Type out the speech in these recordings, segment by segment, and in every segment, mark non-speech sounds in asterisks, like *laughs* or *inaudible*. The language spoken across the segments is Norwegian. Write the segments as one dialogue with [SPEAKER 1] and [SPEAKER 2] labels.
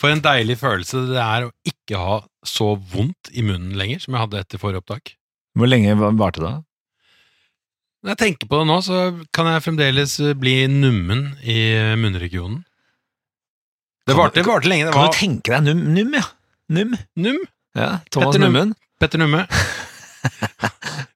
[SPEAKER 1] For en deilig følelse det er å ikke ha så vondt i munnen lenger som jeg hadde etter forrige opptak.
[SPEAKER 2] Hvor lenge va- varte det?
[SPEAKER 1] Når jeg tenker på det nå, så kan jeg fremdeles eh, bli nummen i eh, munnregionen. Det
[SPEAKER 2] Kan
[SPEAKER 1] varte
[SPEAKER 2] du-
[SPEAKER 1] det varte lenge. Det
[SPEAKER 2] Kan du
[SPEAKER 1] var
[SPEAKER 2] tenke deg num, num ja. Num.
[SPEAKER 1] num.
[SPEAKER 2] Ja, Thomas
[SPEAKER 1] Petter Num.
[SPEAKER 2] *laughs* Nummen.
[SPEAKER 1] Petter Numme.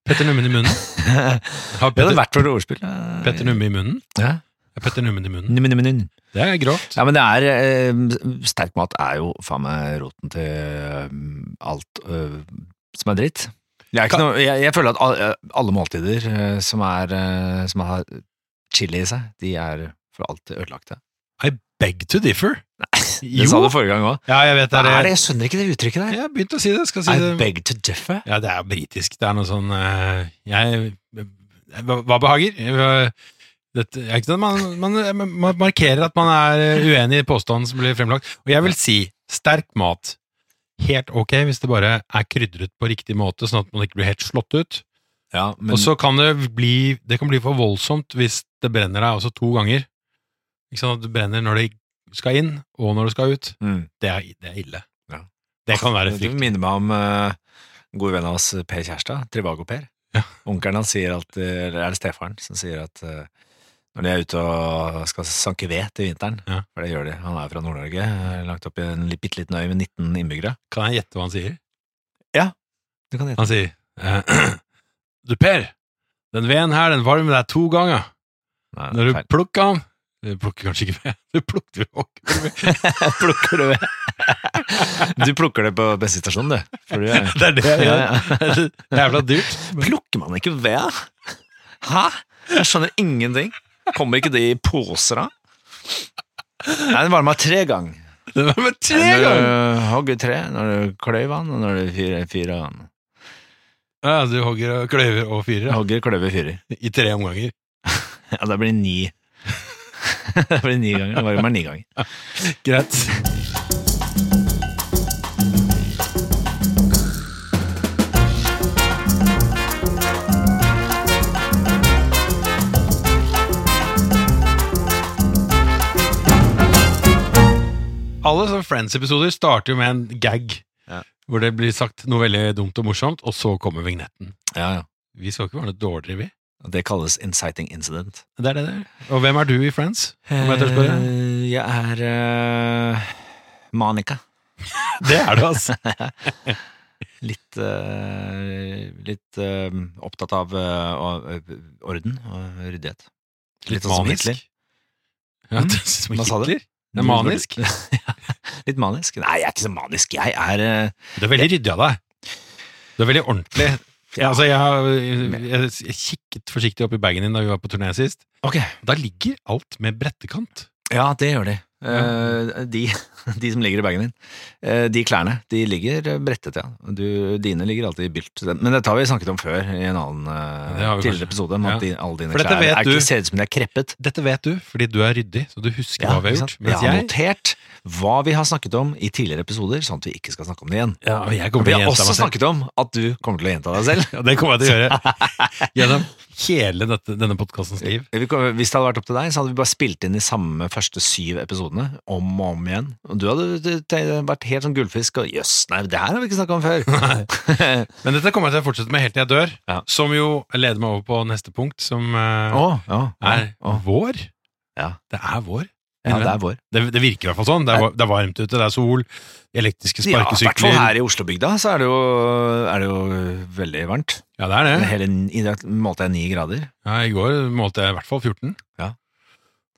[SPEAKER 1] Petter Nummen i munnen.
[SPEAKER 2] Vi
[SPEAKER 1] Har
[SPEAKER 2] hadde
[SPEAKER 1] Petter,
[SPEAKER 2] vært vårt ordspill. eh,
[SPEAKER 1] Petter Numme i munnen?
[SPEAKER 2] Ja.
[SPEAKER 1] Er Petter Nummen i munnen?
[SPEAKER 2] Numme, numme, numme.
[SPEAKER 1] Det er grovt.
[SPEAKER 2] Ja, men det er eh, Sterk mat er jo faen meg roten til eh, alt eh, som er dritt. Jeg, er ikke
[SPEAKER 1] Kan-
[SPEAKER 2] noe, jeg, jeg føler at al- eh, alle måltider eh, som, er, eh, som har chili i seg, de er for alltid ødelagte.
[SPEAKER 1] Beg to differ.
[SPEAKER 2] Det sa du forrige gang òg.
[SPEAKER 1] Ja, jeg vet det.
[SPEAKER 2] Det er
[SPEAKER 1] Er
[SPEAKER 2] det, jeg skjønner ikke det uttrykket der.
[SPEAKER 1] Jeg har begynt å si det. Skal si
[SPEAKER 2] I
[SPEAKER 1] det.
[SPEAKER 2] beg to differ.
[SPEAKER 1] Ja, det er britisk. Det er noe sånn eh, Jeg Hva hva behager? Eh, Dette, er ikke det? man, man, eh, man markerer at man er eh, uenig i påstanden som blir fremlagt. Og jeg vil si sterk mat. Helt ok hvis det bare er krydret på riktig måte, sånn at man ikke blir helt slått ut.
[SPEAKER 2] Ja, men
[SPEAKER 1] og så kan det bli Det kan bli for voldsomt hvis det brenner deg altså to ganger. Ikke sant, At det brenner når det skal inn, og når det skal ut.
[SPEAKER 2] mm.
[SPEAKER 1] Det er, det er ille.
[SPEAKER 2] Ja.
[SPEAKER 1] Det kan være
[SPEAKER 2] Du
[SPEAKER 1] frykt.
[SPEAKER 2] minner meg om eh, en god venn av oss, Per Kjærstad, Trivago-Per.
[SPEAKER 1] Ja.
[SPEAKER 2] Onkelen hans sier alltid, eller er det stefaren, som sier at eh, når de er ute og skal sanke ved til vinteren,
[SPEAKER 1] Ja.
[SPEAKER 2] for det gjør de, han er fra Nord-Norge, eh, langt opp i en li- bitte liten øy med 19 innbyggere.
[SPEAKER 1] Kan jeg gjette hva han sier?
[SPEAKER 2] Du kan gjette.
[SPEAKER 1] Han sier eh, *clears throat* Du, Per, den veden her, den varmer deg to ganger.
[SPEAKER 2] Nei,
[SPEAKER 1] Når du *laughs*
[SPEAKER 2] feil.
[SPEAKER 1] plukker den Du plukker kanskje ikke ved. *laughs* Du plukker jo ikke ved.
[SPEAKER 2] plukker det ved. *laughs* du plukker det på bensinstasjonen, du. For du er,
[SPEAKER 1] *laughs* Det er det jeg gjør. *laughs* Jævla dyrt.
[SPEAKER 2] *laughs* Plukker man ikke ved? Hæ? Jeg skjønner ingenting. Kommer ikke det i poser, da? Nei, den varma tre ganger.
[SPEAKER 1] Det var med tre ganger!
[SPEAKER 2] Når du eh, hogger tre, når du kløyver han, og når du fyrer fyrer han.
[SPEAKER 1] Ja, du hogger og kløyver og fyrer ja,
[SPEAKER 2] Hogger, kløyver, fyrer. *laughs*
[SPEAKER 1] i tre omganger.
[SPEAKER 2] Ja, da blir det ni. *laughs* det blir ni ganger. Det varmer ni ganger.
[SPEAKER 1] Greit. Alle sånne Friends-episoder starter jo med en gag,
[SPEAKER 2] Ja.
[SPEAKER 1] hvor det blir sagt noe veldig dumt og morsomt, og så kommer vignetten.
[SPEAKER 2] Ja, ja.
[SPEAKER 1] Vi skal ikke være noe dårligere, vi.
[SPEAKER 2] Og Det kalles inciting incident.
[SPEAKER 1] Det er det det er. Og hvem er du i Friends? Om jeg tør spørre?
[SPEAKER 2] Eh, Jeg er eh, Monica.
[SPEAKER 1] Det er du, altså.
[SPEAKER 2] Litt, eh, litt eh, opptatt av eh, og- eh, orden og ryddighet.
[SPEAKER 1] Litt
[SPEAKER 2] sånn som
[SPEAKER 1] manisk.
[SPEAKER 2] Hitler.
[SPEAKER 1] Ja, *laughs*
[SPEAKER 2] Mm.
[SPEAKER 1] det er som
[SPEAKER 2] Hva sa du?
[SPEAKER 1] Hitler. Det er
[SPEAKER 2] *laughs*
[SPEAKER 1] manisk.
[SPEAKER 2] litt manisk? Nei, jeg er ikke så manisk. Jeg er eh,
[SPEAKER 1] Det er veldig ryddig av deg. Du er veldig ordentlig.
[SPEAKER 2] Ja.
[SPEAKER 1] Altså, jeg, har- jeg, jeg kikket forsiktig opp i bagen din da vi var på turné sist.
[SPEAKER 2] Ok.
[SPEAKER 1] Da ligger alt med brettekant.
[SPEAKER 2] Ja, det gjør de. Eh, de, *laughs* de som ligger i bagen din. Eh, de klærne, de ligger brettet, ja. Du, dine ligger alltid i bylt. Men dette har vi snakket om før i en annen eh,
[SPEAKER 1] Det har vi
[SPEAKER 2] tidligere
[SPEAKER 1] kanskje.
[SPEAKER 2] episode. Om
[SPEAKER 1] Ja.
[SPEAKER 2] at din- alle dine
[SPEAKER 1] For dette
[SPEAKER 2] klær
[SPEAKER 1] vet
[SPEAKER 2] er
[SPEAKER 1] du.
[SPEAKER 2] ikke, ser ut som de er kreppet.
[SPEAKER 1] Dette vet du, fordi du er ryddig, så du husker hva vi har gjort.
[SPEAKER 2] ikke sant? jeg
[SPEAKER 1] Mens
[SPEAKER 2] har
[SPEAKER 1] jeg,
[SPEAKER 2] notert hva vi har snakket om i tidligere episoder, sånn at vi ikke skal snakke om det igjen.
[SPEAKER 1] ja, og jeg
[SPEAKER 2] Og
[SPEAKER 1] kommer
[SPEAKER 2] vi
[SPEAKER 1] til å
[SPEAKER 2] har
[SPEAKER 1] gjenta
[SPEAKER 2] også
[SPEAKER 1] meg selv.
[SPEAKER 2] snakket om at du kommer til å gjenta deg selv.
[SPEAKER 1] Ja, det kommer jeg til å *laughs* gjøre gjennom hele dette, denne podkastens liv.
[SPEAKER 2] Vi kom- Hvis det hadde vært opp til deg, så hadde vi bare spilt inn de samme første syv episodene om og om igjen. Og du hadde du- te- vært helt sånn gullfisk og jøss, nei, det her har vi ikke snakka
[SPEAKER 1] *laughs*
[SPEAKER 2] om før.
[SPEAKER 1] Men dette kommer jeg til å fortsette med helt til jeg dør,
[SPEAKER 2] Ja.
[SPEAKER 1] som jo leder meg over på neste punkt, som eh,
[SPEAKER 2] *laughs* Å, ja,
[SPEAKER 1] er
[SPEAKER 2] å.
[SPEAKER 1] vår.
[SPEAKER 2] Ja.
[SPEAKER 1] Det er vår.
[SPEAKER 2] ja, det er vår.
[SPEAKER 1] Det, det virker i hvert fall sånn. Det er, var- det er varmt ute, det er sol, elektriske
[SPEAKER 2] Ja, i hvert fall sånn
[SPEAKER 1] sparkesykler. Ja,
[SPEAKER 2] her i Oslobygda så er det jo, er det jo veldig varmt.
[SPEAKER 1] det er det.
[SPEAKER 2] Hele, I dag målte jeg ni grader.
[SPEAKER 1] Ja, I går målte jeg i hvert fall 14.
[SPEAKER 2] Ja.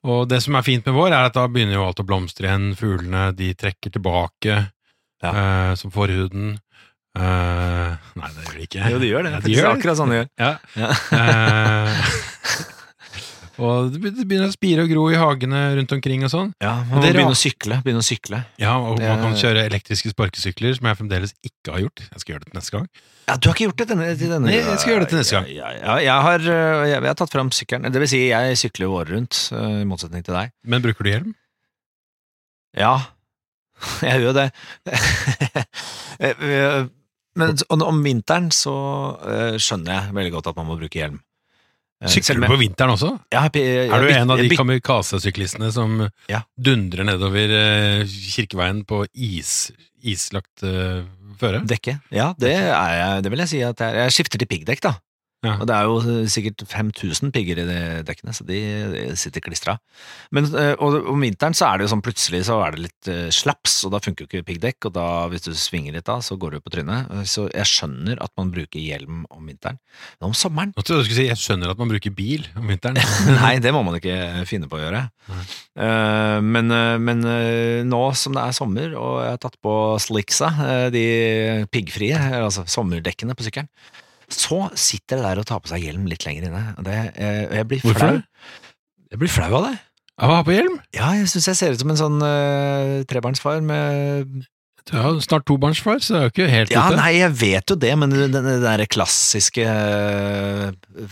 [SPEAKER 1] Og det som er fint med vår, er at da begynner jo alt å blomstre igjen. Fuglene de trekker tilbake, eh, som forhuden. Eh, nei, det gjør de ikke.
[SPEAKER 2] Jo, det gjør det.
[SPEAKER 1] Ja,
[SPEAKER 2] Faktisk,
[SPEAKER 1] de
[SPEAKER 2] det er
[SPEAKER 1] gjør det.
[SPEAKER 2] akkurat sånn det gjør.
[SPEAKER 1] Ja.
[SPEAKER 2] Ja.
[SPEAKER 1] Eh, *laughs* og det be- det begynner å spire og gro i hagene rundt omkring og sånn.
[SPEAKER 2] Ja,
[SPEAKER 1] Men
[SPEAKER 2] man må
[SPEAKER 1] dere-
[SPEAKER 2] begynne å sykle. Begynne å sykle.
[SPEAKER 1] Ja, og man kan
[SPEAKER 2] Det-
[SPEAKER 1] kjøre elektriske sparkesykler, som jeg fremdeles ikke har gjort. Jeg skal gjøre det til neste gang.
[SPEAKER 2] Ja, Du har ikke gjort det denne, til denne
[SPEAKER 1] Nei, jeg skal gjøre det til neste gang.
[SPEAKER 2] Ja, ja, jeg, har, øh, jeg, jeg har tatt fram sykkelen. Det vil si, jeg sykler jo året rundt, øh, i motsetning til deg.
[SPEAKER 1] Men bruker du hjelm?
[SPEAKER 2] Ja, *laughs* jeg gjør jo
[SPEAKER 1] *laughs*
[SPEAKER 2] det. Eh, Men om- om vinteren så øh, skjønner jeg veldig godt at man må bruke hjelm. Eh, Eh, selv om
[SPEAKER 1] Sykler
[SPEAKER 2] jeg-
[SPEAKER 1] du på vinteren også?
[SPEAKER 2] Ja, jeg- jeg-
[SPEAKER 1] Er du
[SPEAKER 2] jeg-
[SPEAKER 1] en av de
[SPEAKER 2] jeg-
[SPEAKER 1] kamikaze-syklistene som
[SPEAKER 2] Ja.
[SPEAKER 1] dundrer nedover eh, kirkeveien på is, islagt eh, føre?
[SPEAKER 2] Dekke? Ja, det, er jeg, det vil jeg si at jeg er. Jeg skifter til piggdekk, da.
[SPEAKER 1] Ja.
[SPEAKER 2] Og det er jo sikkert 5000 pigger i de dekkene, så de sitter klistra. Men eh, og om vinteren så er det jo sånn plutselig så er det litt eh, slaps, og da funker jo ikke piggdekk. Og da, hvis du svinger litt da, så går du på trynet. Så jeg skjønner at man bruker hjelm om vinteren. Men om sommeren
[SPEAKER 1] Nå trodde jeg du skulle si jeg skjønner at man bruker bil om vinteren. *laughs*
[SPEAKER 2] *laughs* Nei, det må man ikke finne på å gjøre. Eh, men eh, men eh, nå som det er sommer, og jeg har tatt på slicksa, eh, de piggfrie, eh, altså sommerdekkene på sykkelen, så sitter det der og tar på seg hjelm litt lenger inne. Og det, eh, og jeg blir
[SPEAKER 1] Hvorfor
[SPEAKER 2] flau.
[SPEAKER 1] det?
[SPEAKER 2] Jeg blir flau av det.
[SPEAKER 1] Av å ha på hjelm?
[SPEAKER 2] Ja, jeg syns jeg ser ut som en sånn eh, trebarnsfar med
[SPEAKER 1] Du er jo snart tobarnsfar, så det er jo ikke helt
[SPEAKER 2] Ja,
[SPEAKER 1] ute.
[SPEAKER 2] nei, jeg vet jo det, men den, den der klassiske eh,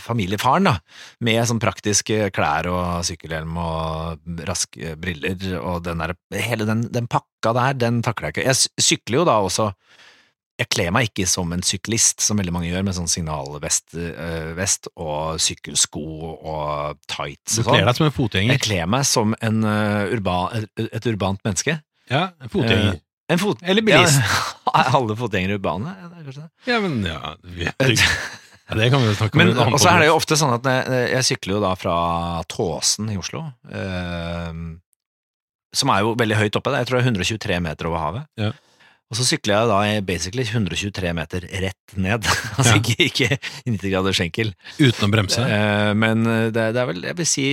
[SPEAKER 2] familiefaren, da. Med sånn praktiske klær og sykkelhjelm og raske eh, briller og den der Hele den, den pakka der, den takler jeg ikke. Jeg sy- sykler jo da også jeg kler meg ikke som en syklist, som veldig mange gjør, med sånn signalvest eh, vest og sykkelsko og tights
[SPEAKER 1] Du
[SPEAKER 2] og
[SPEAKER 1] kler
[SPEAKER 2] sånn.
[SPEAKER 1] deg som en
[SPEAKER 2] Jeg
[SPEAKER 1] fotgjenger.
[SPEAKER 2] kler meg som en, eh, urba, et, et urbant menneske.
[SPEAKER 1] Ja, en fotgjenger.
[SPEAKER 2] Eh, En fot...
[SPEAKER 1] Eller bilist.
[SPEAKER 2] Ja, *laughs* er alle fotgjengere urbane? Ja, det er kanskje det.
[SPEAKER 1] Ja, men ja, vi-
[SPEAKER 2] *laughs*
[SPEAKER 1] ja, det kan vi jo snakke om.
[SPEAKER 2] Men,
[SPEAKER 1] i en annen
[SPEAKER 2] og så er det jo
[SPEAKER 1] podcast.
[SPEAKER 2] ofte sånn at jeg, jeg sykler jo da fra Tåsen i Oslo, eh, som er jo veldig høyt oppe, der. jeg tror det er 123 meter over havet.
[SPEAKER 1] Ja.
[SPEAKER 2] Og så sykler jeg da i basically 123 meter rett ned, *laughs* altså
[SPEAKER 1] Ja.
[SPEAKER 2] ikke, ikke i 90 grader skjenkel.
[SPEAKER 1] Uten å bremse.
[SPEAKER 2] Eh, men det, det er vel, jeg vil si,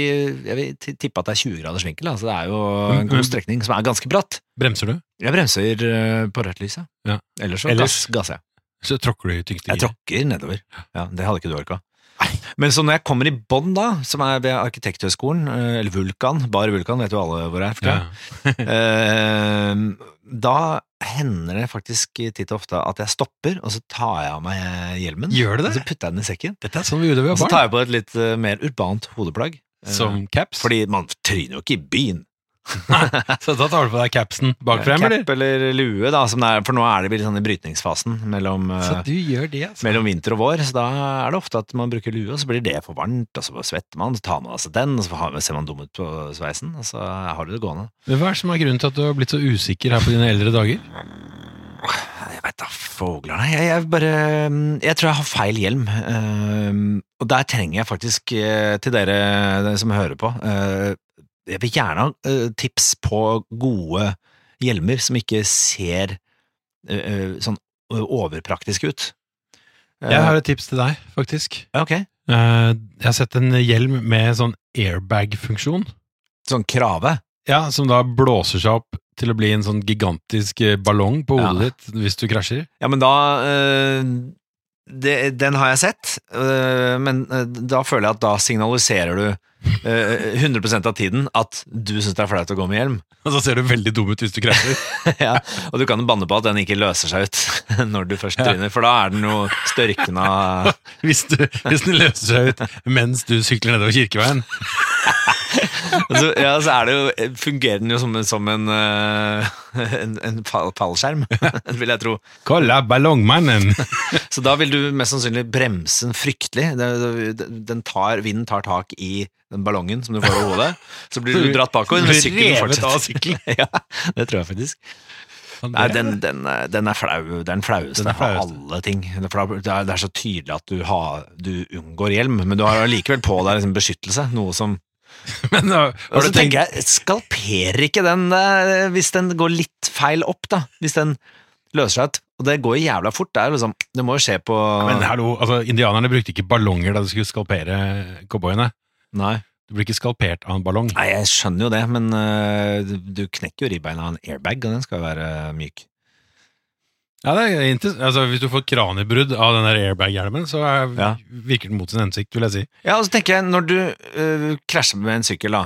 [SPEAKER 2] jeg vil ti- tippe at det er 20 grader skjenkel, altså det er jo
[SPEAKER 1] Men-
[SPEAKER 2] en god
[SPEAKER 1] men-
[SPEAKER 2] strekning som er ganske bratt.
[SPEAKER 1] Bremser du?
[SPEAKER 2] Jeg bremser eh, på rødt lys, ja.
[SPEAKER 1] Ja.
[SPEAKER 2] Ellers så gass,
[SPEAKER 1] Ellers-
[SPEAKER 2] gasser jeg.
[SPEAKER 1] Så tråkker du i tyngste
[SPEAKER 2] Jeg
[SPEAKER 1] gir.
[SPEAKER 2] tråkker nedover. Ja, Det hadde ikke du orka. Men så når jeg kommer i bånn, da, som er ved Arkitekthøgskolen, eh, eller Vulkan, Bar Vulkan, vet jo alle hvor det er, for
[SPEAKER 1] Ja.
[SPEAKER 2] tiden, eh, da hender det faktisk titt og ofte at jeg stopper, og så tar jeg av meg hjelmen.
[SPEAKER 1] Gjør du
[SPEAKER 2] Og så
[SPEAKER 1] det?
[SPEAKER 2] putter jeg den i sekken.
[SPEAKER 1] Altså, Dette er sånn vi gjorde da vi
[SPEAKER 2] Og
[SPEAKER 1] var
[SPEAKER 2] så
[SPEAKER 1] barn.
[SPEAKER 2] tar jeg på et litt eh, mer urbant hodeplagg. Eh,
[SPEAKER 1] Som caps.
[SPEAKER 2] Fordi man tryner jo ikke i byen.
[SPEAKER 1] *laughs* Så da tar du på deg capsen bakfrem, eller?
[SPEAKER 2] Cap eller lue, da, som det er, for nå er det vel sånn i brytningsfasen mellom eh,
[SPEAKER 1] Så du gjør det, altså.
[SPEAKER 2] mellom vinter og vår, så da er det ofte at man bruker lue, og så blir det for varmt, og så svetter man, så tar man av seg den, og så har- ser man dum ut på sveisen, og så har du det gående.
[SPEAKER 1] Men hva er det som er grunnen til at du har blitt så usikker her på dine eldre dager?
[SPEAKER 2] Jeg veit da, fogler, nei, jeg, jeg bare mm, Jeg tror jeg har feil hjelm, ehm, og der trenger jeg faktisk, eh, til dere dere som hører på, eh, jeg vil gjerne ha eh, tips på gode hjelmer som ikke ser eh, eh, sånn eh, overpraktiske ut. Eh,
[SPEAKER 1] Jeg har et tips til deg, faktisk.
[SPEAKER 2] Ok,
[SPEAKER 1] Eh, Jeg har sett en hjelm med sånn airbag-funksjon,
[SPEAKER 2] sånn krave.
[SPEAKER 1] Ja, som da blåser seg opp til å bli en sånn gigantisk eh, ballong på hodet
[SPEAKER 2] Ja.
[SPEAKER 1] ditt hvis du krasjer.
[SPEAKER 2] Ja, men da øh, det, Den har jeg sett, øh, men øh, da føler jeg at da signaliserer du øh, 100 av tiden at du syns det er flaut å gå med hjelm.
[SPEAKER 1] Og så ser du veldig dum ut hvis du krasjer.
[SPEAKER 2] ja, og du kan banne på at den ikke løser seg ut *laughs* når du først tryner, for da er den jo størkna
[SPEAKER 1] *laughs* *laughs* Hvis, du, hvis den løser seg ut mens du sykler nedover kirkeveien.
[SPEAKER 2] Og så, Altså, Ja, så er det jo, eh, fungerer den jo som, en- som en, øh, *laughs* en, en fall- fallskjerm, *laughs* vil jeg tro.
[SPEAKER 1] Kolla ballongmannen!
[SPEAKER 2] Så da vil du mest sannsynlig bremse den fryktelig. Den- den- Den tar, vinden tar tak i den ballongen som du får over hodet. Så
[SPEAKER 1] *laughs*
[SPEAKER 2] blir du dratt bakover, men
[SPEAKER 1] Blir
[SPEAKER 2] sykkelen
[SPEAKER 1] revet av
[SPEAKER 2] *laughs* fortsetter.
[SPEAKER 1] sykkelen.
[SPEAKER 2] Ja, det tror jeg faktisk. Nei, den, den, er- den er flau. Det er den flaueste
[SPEAKER 1] Den er
[SPEAKER 2] av
[SPEAKER 1] flaueste.
[SPEAKER 2] alle ting. For da- det er, det er så tydelig at du, har, du unngår hjelm, men du har allikevel på deg liksom beskyttelse. Noe som
[SPEAKER 1] *laughs* Men eh, altså, da,
[SPEAKER 2] Og
[SPEAKER 1] har
[SPEAKER 2] så
[SPEAKER 1] du tenkt
[SPEAKER 2] tenker jeg, skalperer ikke den eh, hvis den går litt feil opp, da? Hvis den løser seg ut. Og det går jævla fort. Det, er liksom, det må jo skje på
[SPEAKER 1] Men hallo, altså, indianerne brukte ikke ballonger da de skulle skalpere cowboyene.
[SPEAKER 2] Nei.
[SPEAKER 1] Du blir ikke skalpert av en ballong.
[SPEAKER 2] Nei, jeg skjønner jo det, men øh, du, du knekker jo ribbeina av en airbag, og den skal jo være eh, myk.
[SPEAKER 1] Ja, det er inter- altså, hvis du får kraniebrudd av den der airbag-hjelmen, så er,
[SPEAKER 2] Ja.
[SPEAKER 1] virker den mot sin hensikt, vil jeg si.
[SPEAKER 2] Ja, og så tenker jeg, når du øh, krasjer med en sykkel, da,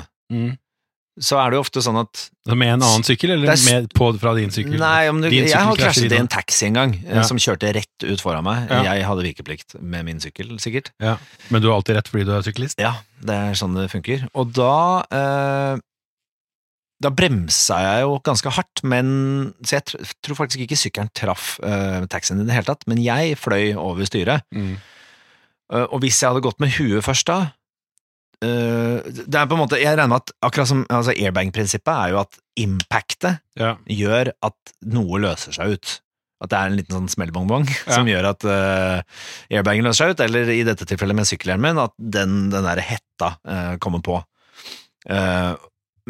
[SPEAKER 2] så er det jo ofte sånn at
[SPEAKER 1] Mm. Så Med en annen sykkel, eller
[SPEAKER 2] Det er s-
[SPEAKER 1] med, på, fra din sykkel?
[SPEAKER 2] Nei, om du,
[SPEAKER 1] Din
[SPEAKER 2] jeg
[SPEAKER 1] sykkel
[SPEAKER 2] har
[SPEAKER 1] krasjer i
[SPEAKER 2] krasjet i
[SPEAKER 1] den.
[SPEAKER 2] en taxi en gang, øh,
[SPEAKER 1] Ja.
[SPEAKER 2] som kjørte rett ut foran meg.
[SPEAKER 1] Ja.
[SPEAKER 2] Jeg hadde vikeplikt med min sykkel, sikkert.
[SPEAKER 1] Men du har alltid rett fordi du er syklist?
[SPEAKER 2] Ja, det er sånn det funker. Og da øh, Da bremsa jeg jo ganske hardt, men Så jeg tr tror faktisk ikke sykkelen traff øh, taxien i det Mm. Eh, hele tatt, men jeg fløy over styret. Eh, Og hvis jeg hadde gått med huet først da, eh, det er på en måte, Jeg regner med at akkurat som altså airbag-prinsippet er jo at impactet
[SPEAKER 1] Ja.
[SPEAKER 2] gjør at noe løser seg ut. At det er en liten sånn smellbongbong *laughs*
[SPEAKER 1] Ja.
[SPEAKER 2] som gjør at eh, airbagen løser seg ut, eller i dette tilfellet med sykkelhjelmen, at den, den der hetta eh, kommer på. Eh,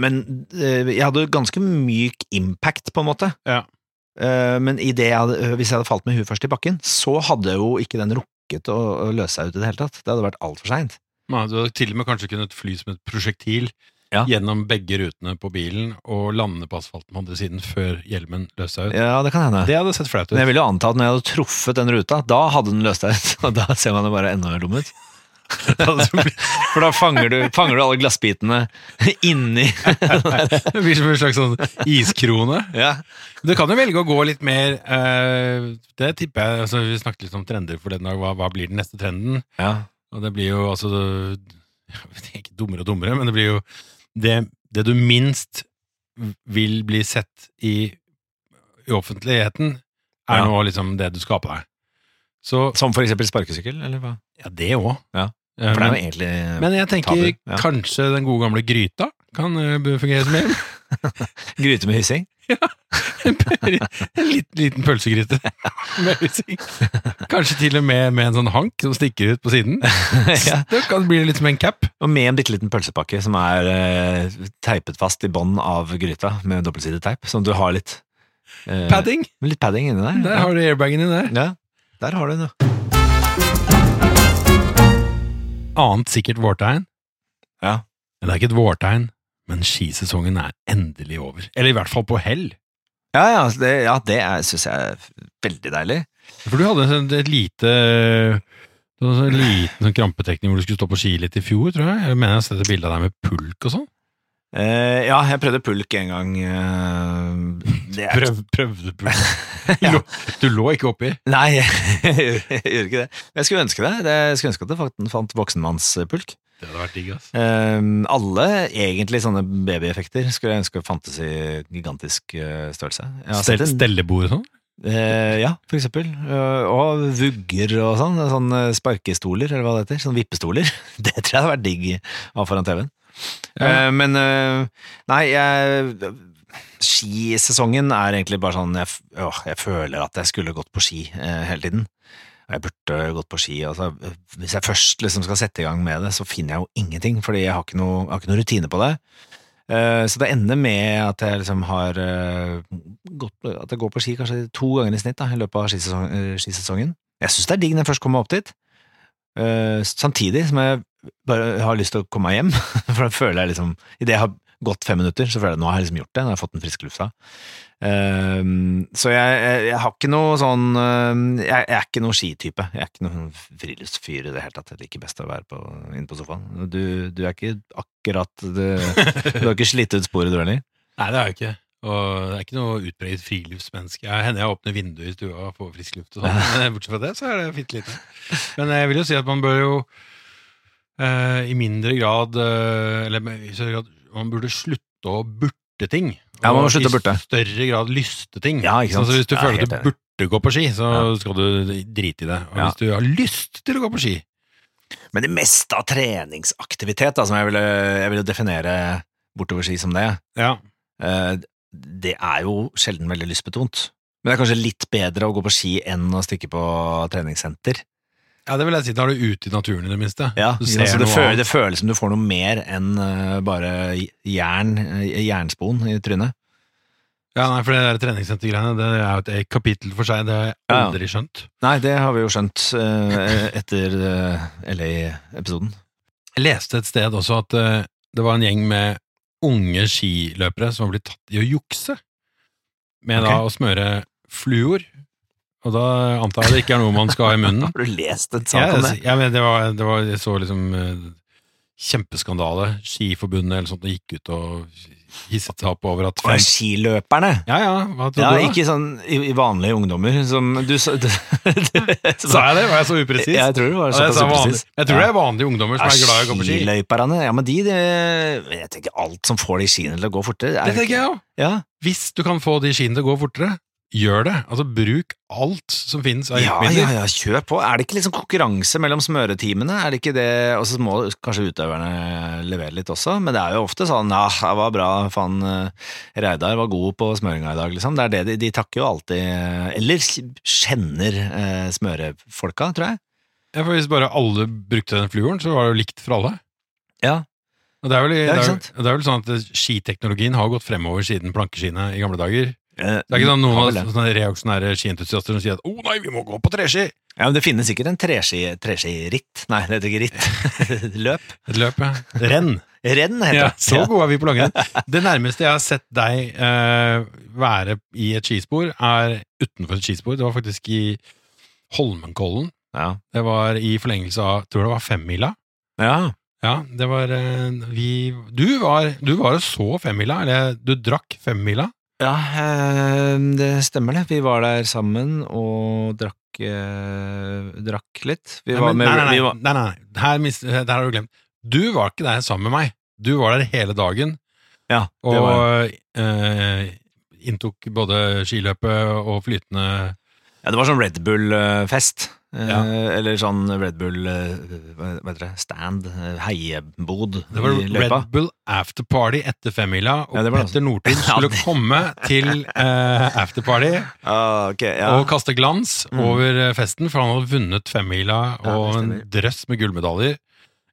[SPEAKER 2] men eh, jeg hadde jo ganske myk impact, på en måte.
[SPEAKER 1] Ja.
[SPEAKER 2] Eh, men i det jeg hadde, hvis jeg hadde falt med huet først i bakken, så hadde jo ikke den rukket å, å løse seg ut i det hele tatt. Det hadde vært altfor seint.
[SPEAKER 1] Nei, Du hadde til og med kanskje kunnet fly som et prosjektil
[SPEAKER 2] Ja.
[SPEAKER 1] gjennom begge rutene på bilen og lande på asfalten på andre siden før hjelmen løste seg ut.
[SPEAKER 2] Ja, det kan hende.
[SPEAKER 1] Det hadde sett flaut ut.
[SPEAKER 2] Men jeg vil jo anta at når jeg hadde truffet den ruta, da hadde den løst seg ut. *laughs* Og da ser man det bare enda mer dum ut. *laughs* For da fanger du, fanger du alle glassbitene inni
[SPEAKER 1] *laughs* Det blir som en slags sånn iskrone.
[SPEAKER 2] ja.
[SPEAKER 1] Du kan jo velge å gå litt mer eh, Det tipper jeg altså, Vi snakket litt om trender for den dag. Hva, hva blir den neste trenden?
[SPEAKER 2] ja.
[SPEAKER 1] Og det blir jo altså *laughs* jeg vet Ikke dummere og dummere, men det blir jo det, det du minst vil bli sett i, i offentligheten, er
[SPEAKER 2] Ja.
[SPEAKER 1] nå liksom det du skaper deg. Så
[SPEAKER 2] Som for eksempel sparkesykkel, eller hva?
[SPEAKER 1] Ja, det òg.
[SPEAKER 2] Ja. For det er jo egentlig
[SPEAKER 1] men jeg tenker
[SPEAKER 2] tabu, ja.
[SPEAKER 1] kanskje den gode gamle gryta kan eh, fungere som hjelm.
[SPEAKER 2] gryte med *laughs* hyssing.
[SPEAKER 1] En liten, liten pølsegryte med hyssing. Kanskje til og med med en sånn hank som stikker ut på *laughs* siden.
[SPEAKER 2] ja.
[SPEAKER 1] Det kan bli litt som en cap.
[SPEAKER 2] Og med en bitte liten pølsepakke som er eh, teipet fast i bånn av gryta med dobbeltsidig teip, sånn at du har litt eh,
[SPEAKER 1] Padding!
[SPEAKER 2] Litt padding inni der.
[SPEAKER 1] Der har du airbagen din der.
[SPEAKER 2] ja. ja, der har du den, ja.
[SPEAKER 1] Annet sikkert vårtegn.
[SPEAKER 2] Ja.
[SPEAKER 1] Men det er ikke et vårtegn, men skisesongen er endelig over. Eller i hvert fall på hell.
[SPEAKER 2] Ja, ja, altså, det, ja, det syns jeg er veldig deilig.
[SPEAKER 1] For du hadde en sånn, et lite du hadde en sånn liten sånn krampetekning hvor du skulle stå på ski litt i fjor, tror jeg. Jeg mener jeg har sett et bilde av deg med pulk og sånn.
[SPEAKER 2] Eh, ja, jeg prøvde pulk en gang. eh, det er,
[SPEAKER 1] Prøv, prøvde pulk. *laughs*
[SPEAKER 2] Ja.
[SPEAKER 1] Du lå- Du lå ikke oppi.
[SPEAKER 2] nei, *laughs* jeg gjorde ikke det. Men Jeg skulle ønske det. det jeg skulle ønske at det fant, fant voksenmannspulk.
[SPEAKER 1] Det hadde vært digg, ass.
[SPEAKER 2] Eh, alle egentlig sånne babyeffekter skulle jeg ønske fantes i gigantisk eh, størrelse. Jeg har sett
[SPEAKER 1] Stel,
[SPEAKER 2] en-
[SPEAKER 1] stellebord og sånn.
[SPEAKER 2] Eh, ja, for eksempel. Eh, og vugger og sånn. Sånne sparkestoler, eller hva det heter. Sånne vippestoler. *laughs* Det tror jeg hadde vært digg å ha foran TV-en.
[SPEAKER 1] Ja.
[SPEAKER 2] Eh, men eh, nei, jeg, skisesongen er egentlig bare sånn jeg, f- åh, jeg føler at jeg skulle gått på ski eh, hele tiden. Og Jeg burde gått på ski. Altså, hvis jeg først liksom skal sette i gang med det, så finner jeg jo ingenting, fordi jeg har ikke noe, jeg har ikke noe rutine på det. Eh, Så det ender med at jeg liksom har eh, gått, At jeg går på ski kanskje to ganger i snitt da, i løpet av skisesong, eh, skisesongen. Jeg syns det er digg når jeg først kommer opp dit. Eh, Samtidig som jeg bare har lyst til å komme meg hjem. For da føler jeg liksom Idet jeg har gått fem minutter, så føler jeg at nå har jeg liksom gjort det. Nå har jeg fått den friske lufta. Eh, Så jeg, jeg, jeg har ikke noe sånn eh, Jeg, jeg er ikke noe skitype. Jeg er ikke noen friluftsfyr i det hele tatt. Jeg liker best å være på, inne på sofaen. Du, du er ikke akkurat det du har ikke slitt ut sporet, du heller?
[SPEAKER 1] Nei, det har jeg ikke. Og det er ikke noe utbredt friluftsmenneske. Jeg hender jeg åpner vinduet i stua og får frisk luft og sånn,
[SPEAKER 2] *laughs*
[SPEAKER 1] men bortsett fra det, så er det fint lite. Men jeg vil jo si at man bør jo eh, i mindre grad eh, Eller med- i større grad Man burde slutte å burte ting.
[SPEAKER 2] Ja, man må
[SPEAKER 1] Og
[SPEAKER 2] slutte å burte.
[SPEAKER 1] I større grad lyste ting.
[SPEAKER 2] Ja, ikke sant?
[SPEAKER 1] Sånn, så hvis du
[SPEAKER 2] Ja,
[SPEAKER 1] føler at
[SPEAKER 2] helt enig.
[SPEAKER 1] du burde gå på ski, så
[SPEAKER 2] Ja.
[SPEAKER 1] skal du drite i det. Og
[SPEAKER 2] Ja.
[SPEAKER 1] hvis du har lyst til å gå på ski
[SPEAKER 2] Men det meste av treningsaktivitet, da, som jeg ville, jeg ville definere bortoverski som det,
[SPEAKER 1] ja.
[SPEAKER 2] eh, det er jo sjelden veldig lystbetont. Men det er kanskje litt bedre å gå på ski enn å stikke på treningssenter.
[SPEAKER 1] ja, det vil jeg si. Da er du ute i naturen, i det minste.
[SPEAKER 2] Ja,
[SPEAKER 1] du
[SPEAKER 2] ikke
[SPEAKER 1] ser
[SPEAKER 2] sant? så altså, det,
[SPEAKER 1] noe
[SPEAKER 2] føles,
[SPEAKER 1] annet.
[SPEAKER 2] det føles som du får noe mer enn eh, bare jern, eh, jernspon i trynet.
[SPEAKER 1] Ja, nei, for det der treningssentergreiene, det er jo et eget kapittel for seg, det har jeg
[SPEAKER 2] Ja, ja.
[SPEAKER 1] aldri skjønt.
[SPEAKER 2] Nei, det har vi jo skjønt *laughs* eh, etter eh, LA-episoden.
[SPEAKER 1] Jeg leste et sted også at eh, det var en gjeng med unge skiløpere som var blitt tatt i å jukse, med da å smøre fluor, og da antar jeg det ikke er noe man skal ha i munnen.
[SPEAKER 2] Har du lest en
[SPEAKER 1] Ja, altså,
[SPEAKER 2] *laughs* sak om
[SPEAKER 1] jeg-
[SPEAKER 2] det?
[SPEAKER 1] jeg mener, det var, det var, jeg så liksom eh, kjempeskandale, skiforbundet eller sånt, og gikk ut og hisset seg opp over at
[SPEAKER 2] Fra
[SPEAKER 1] fem...
[SPEAKER 2] skiløperne?
[SPEAKER 1] Ja, ja, hva trodde
[SPEAKER 2] Ja,
[SPEAKER 1] du da?
[SPEAKER 2] ikke sånn i, i vanlige ungdommer som du sa *laughs* du,
[SPEAKER 1] Sa jeg det? Var jeg så upresis?
[SPEAKER 2] Jeg tror det
[SPEAKER 1] Ja,
[SPEAKER 2] var
[SPEAKER 1] jeg,
[SPEAKER 2] såpass
[SPEAKER 1] sa vanlig,
[SPEAKER 2] upresis.
[SPEAKER 1] jeg tror det er vanlige ungdommer som er glad i å gå på ski.
[SPEAKER 2] Skiløyperne, ja, men de, de Jeg tenker alt som får de skiene til å gå fortere er-
[SPEAKER 1] Det tenker jeg òg.
[SPEAKER 2] Ja,
[SPEAKER 1] Hvis du kan få de skiene til å gå fortere, gjør det. Altså, bruk alt som finnes av
[SPEAKER 2] Ja,
[SPEAKER 1] hjelpemidler.
[SPEAKER 2] ja, ja, kjør på. Er det ikke liksom konkurranse mellom smøretimene? Er det ikke det, Og så må kanskje utøverne levere litt også, men det er jo ofte sånn ja, det var bra, faen, eh, Reidar var god på smøringa i dag, liksom. Det er det de, de takker jo alltid eh, Eller kjenner eh, smørefolka, tror jeg.
[SPEAKER 1] Ja, for hvis bare alle brukte den fluoren, så var det jo likt for alle.
[SPEAKER 2] Ja.
[SPEAKER 1] Og det er vel,
[SPEAKER 2] Ja, ikke
[SPEAKER 1] det er,
[SPEAKER 2] sant?
[SPEAKER 1] det er vel sånn at eh, skiteknologien har gått fremover siden plankeskiene i gamle dager.
[SPEAKER 2] Eh,
[SPEAKER 1] Det er ikke sånn noen
[SPEAKER 2] har
[SPEAKER 1] av
[SPEAKER 2] vel det.
[SPEAKER 1] sånne reaksjonære skientusiaster som sier at 'Å nei, vi må gå på treski!'
[SPEAKER 2] Ja, men det finnes sikkert en treski- treskiritt. Nei, det heter ikke ritt. *laughs* Løp.
[SPEAKER 1] Et løp, ja.
[SPEAKER 2] *laughs*
[SPEAKER 1] Renn.
[SPEAKER 2] Renn heter
[SPEAKER 1] Ja,
[SPEAKER 2] det.
[SPEAKER 1] så gode er vi på langrenn. Det nærmeste jeg har sett deg eh, være i et skispor, er utenfor et skispor. Det var faktisk i Holmenkollen.
[SPEAKER 2] Ja.
[SPEAKER 1] Det var i forlengelse av, tror det var femmila.
[SPEAKER 2] ja.
[SPEAKER 1] Ja, det var eh, vi, du, var, du var og så femmila, eller du drakk femmila.
[SPEAKER 2] Ja, eh, det stemmer det. Vi var der sammen og drakk, eh, drakk litt. Vi
[SPEAKER 1] Nei,
[SPEAKER 2] var
[SPEAKER 1] men-
[SPEAKER 2] med
[SPEAKER 1] nei, nei,
[SPEAKER 2] vi
[SPEAKER 1] nei,
[SPEAKER 2] var,
[SPEAKER 1] nei, nei, nei. Her, mis, der har du glemt. Du var ikke der sammen med meg. Du var der hele dagen
[SPEAKER 2] Ja, det var
[SPEAKER 1] og eh, inntok både skiløpet og flytende
[SPEAKER 2] Ja, det var sånn Red Bull-fest. Eh,
[SPEAKER 1] Ja.
[SPEAKER 2] Eller sånn Red Bull eh, Hva hva heter det? Stand? eh, Heiebod
[SPEAKER 1] Det var
[SPEAKER 2] i løypa.
[SPEAKER 1] Red Bull afterparty etter femmila, og
[SPEAKER 2] Ja, det var det
[SPEAKER 1] Petter
[SPEAKER 2] *laughs*
[SPEAKER 1] Northug skulle
[SPEAKER 2] Ja, det-
[SPEAKER 1] komme til eh, afterparty
[SPEAKER 2] Ah, ok, ja.
[SPEAKER 1] og kaste glans
[SPEAKER 2] Mm.
[SPEAKER 1] over eh, festen, for han hadde vunnet femmila
[SPEAKER 2] Ja, det
[SPEAKER 1] og en
[SPEAKER 2] stemmer.
[SPEAKER 1] drøss med gullmedaljer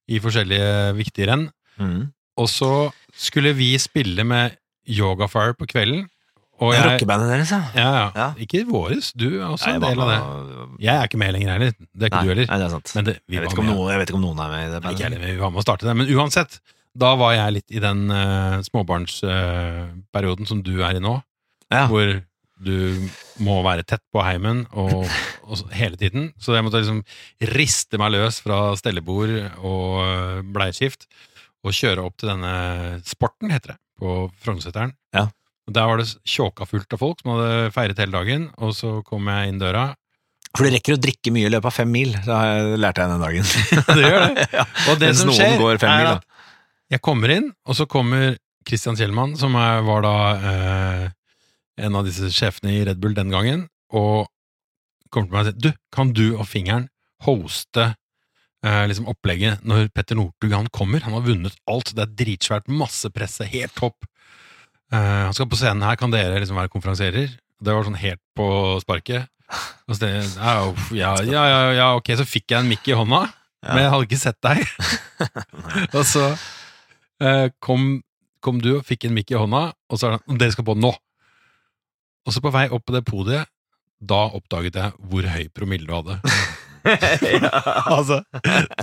[SPEAKER 1] i forskjellige viktige renn.
[SPEAKER 2] mm.
[SPEAKER 1] Og så skulle vi spille med Yogafire på kvelden, og
[SPEAKER 2] Det er
[SPEAKER 1] jeg
[SPEAKER 2] Rockebandet deres, ja.
[SPEAKER 1] ja, ja.
[SPEAKER 2] Ja.
[SPEAKER 1] Ikke våres, du er også
[SPEAKER 2] Nei, jeg
[SPEAKER 1] en
[SPEAKER 2] var
[SPEAKER 1] del av det.
[SPEAKER 2] med-
[SPEAKER 1] Jeg er ikke med lenger heller, det er ikke
[SPEAKER 2] Nei,
[SPEAKER 1] du heller.
[SPEAKER 2] Nei, det er sant.
[SPEAKER 1] Men det, vi
[SPEAKER 2] Jeg vet,
[SPEAKER 1] var
[SPEAKER 2] ikke om
[SPEAKER 1] med.
[SPEAKER 2] noen, jeg vet ikke om noen er med i det
[SPEAKER 1] Nei, ikke
[SPEAKER 2] bandet.
[SPEAKER 1] heller, vi var med å starte det. Men uansett, da var jeg litt i den eh, småbarnsperioden eh, som du er i nå,
[SPEAKER 2] Ja.
[SPEAKER 1] hvor du må være tett på heimen *laughs* og, og så- hele tiden. Så jeg måtte liksom riste meg løs fra stellebord og eh, bleieskift og kjøre opp til denne sporten, heter det, på Frognerseteren.
[SPEAKER 2] Ja.
[SPEAKER 1] Og Der var det s- tjåka fullt av folk som hadde feiret hele dagen, og så kom jeg inn døra.
[SPEAKER 2] For du rekker å drikke mye i løpet av fem mil, det har jeg- lærte jeg den dagen.
[SPEAKER 1] *laughs* Det gjør det.
[SPEAKER 2] ja.
[SPEAKER 1] Og det
[SPEAKER 2] Mens
[SPEAKER 1] som
[SPEAKER 2] noen
[SPEAKER 1] skjer,
[SPEAKER 2] går fem mil,
[SPEAKER 1] er
[SPEAKER 2] da.
[SPEAKER 1] at jeg kommer inn, og så kommer Christian Kjellmann, som er, var da eh, en av disse sjefene i Red Bull den gangen, og kommer til meg og sier Du, kan du og fingeren hoste eh, liksom opplegget når Petter Northug han kommer? Han har vunnet alt, det er dritsvært, masse presse, helt topp. Eh, han skal på scenen her, kan dere liksom være konferansierer? Det var sånn helt på sparket. Og så, det- ja, uff, ja, ja, ja, ja, ok, så fikk jeg en mikk i hånda.
[SPEAKER 2] Ja.
[SPEAKER 1] Men jeg hadde ikke sett deg. *laughs* og så eh, kom, kom du og fikk en mikk i hånda, og så er det dere skal på nå. Og så på vei opp på det podiet, da oppdaget jeg hvor høy promille du
[SPEAKER 2] *laughs*
[SPEAKER 1] hadde. *laughs*
[SPEAKER 2] ja.
[SPEAKER 1] Altså,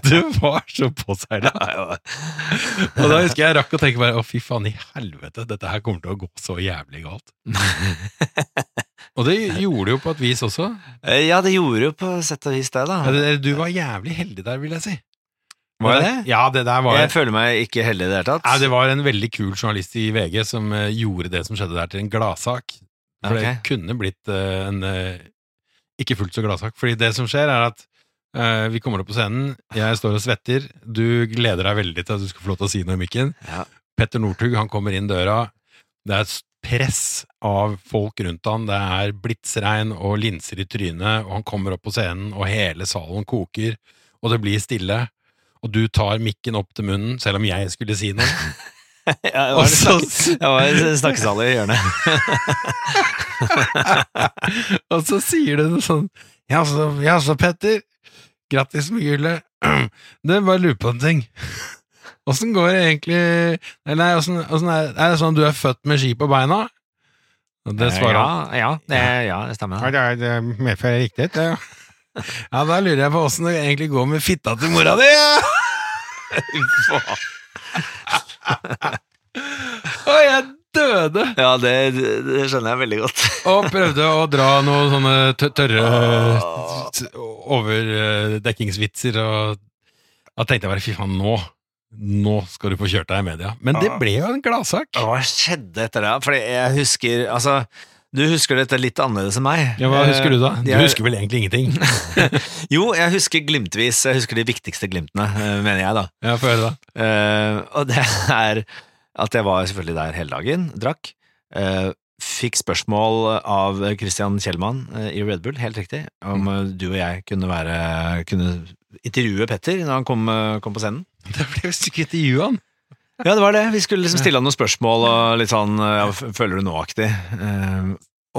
[SPEAKER 1] du var så påseila.
[SPEAKER 2] Ja,
[SPEAKER 1] Og da husker jeg jeg rakk å tenke bare å fy faen i helvete, dette her kommer til å gå så jævlig galt.
[SPEAKER 2] *laughs*
[SPEAKER 1] Og det gjorde det jo på et vis også.
[SPEAKER 2] ja. Eh, ja, det gjorde jo på sett og vis det, da.
[SPEAKER 1] Eller, Du var jævlig heldig der, vil jeg si.
[SPEAKER 2] Var jeg det?
[SPEAKER 1] Ja, det der var
[SPEAKER 2] Jeg føler meg ikke heldig i det hele tatt.
[SPEAKER 1] Nei, det
[SPEAKER 2] *laughs*
[SPEAKER 1] var en veldig kul journalist i VG som eh, gjorde det som skjedde der til en gladsak. For det
[SPEAKER 2] Ok.
[SPEAKER 1] kunne blitt eh, en eh, ikke fullt så gladsak. Fordi det som skjer, er at eh, vi kommer opp på scenen, jeg står og svetter, du gleder deg veldig til at du skal få lov til å si noe i mikken.
[SPEAKER 2] Ja.
[SPEAKER 1] Petter Northug, han kommer inn døra, det er et press av folk rundt han, det er blitsregn og linser i trynet, og han kommer opp på scenen, og hele salen koker, og det blir stille. Og du tar mikken opp til munnen, selv om jeg skulle si noe.
[SPEAKER 2] Jeg var,
[SPEAKER 1] Og
[SPEAKER 2] en
[SPEAKER 1] så,
[SPEAKER 2] snakke- jeg var i en snakkesal i hjørnet.
[SPEAKER 1] og så sier du noe sånn Ja, så, ja, så Petter, grattis med gullet. *clears throat* Du, bare lurer på en ting. *laughs* Åssen går det egentlig Eller nei, åssen åssen er, er det sånn at du er født med ski på beina? Og *laughs* det svarer han.
[SPEAKER 2] Ja, ja, det, ja, det stemmer.
[SPEAKER 1] Eh, Ja, det er- det medfører riktighet, det. Ja. *laughs* ja, da lurer jeg på åssen det egentlig går med fitta til mora di! *laughs* ja. Og jeg døde!
[SPEAKER 2] Ja, det, det skjønner jeg veldig godt. *laughs*
[SPEAKER 1] Og prøvde å dra noen sånne tø- tørre
[SPEAKER 2] Åh.
[SPEAKER 1] t- overdekkingsvitser, og da tenkte jeg bare fy faen, nå nå skal du få kjørt deg i media. Men det ble jo en gladsak.
[SPEAKER 2] Hva skjedde etter det? Fordi jeg husker Altså, du husker dette litt annerledes enn meg. Eh,
[SPEAKER 1] Ja, hva husker du da? Du
[SPEAKER 2] jeg-
[SPEAKER 1] husker vel egentlig ingenting?
[SPEAKER 2] Jo, jeg husker glimtvis. Jeg husker de viktigste glimtene, eh, mener jeg, da.
[SPEAKER 1] *laughs* Ja, Få høre, da.
[SPEAKER 2] Eh, og det er at jeg var selvfølgelig der hele dagen, drakk. eh, fikk spørsmål av Christian Kjellmann eh, i Red Bull, helt riktig, om eh, du og jeg kunne være kunne intervjue Petter når han kom, eh, kom på scenen.
[SPEAKER 1] Da ble vi sikkert intervjua han.
[SPEAKER 2] Ja, det var det. Vi skulle liksom stille han noen spørsmål og litt sånn ja, f- Føler du nå-aktig? Eh,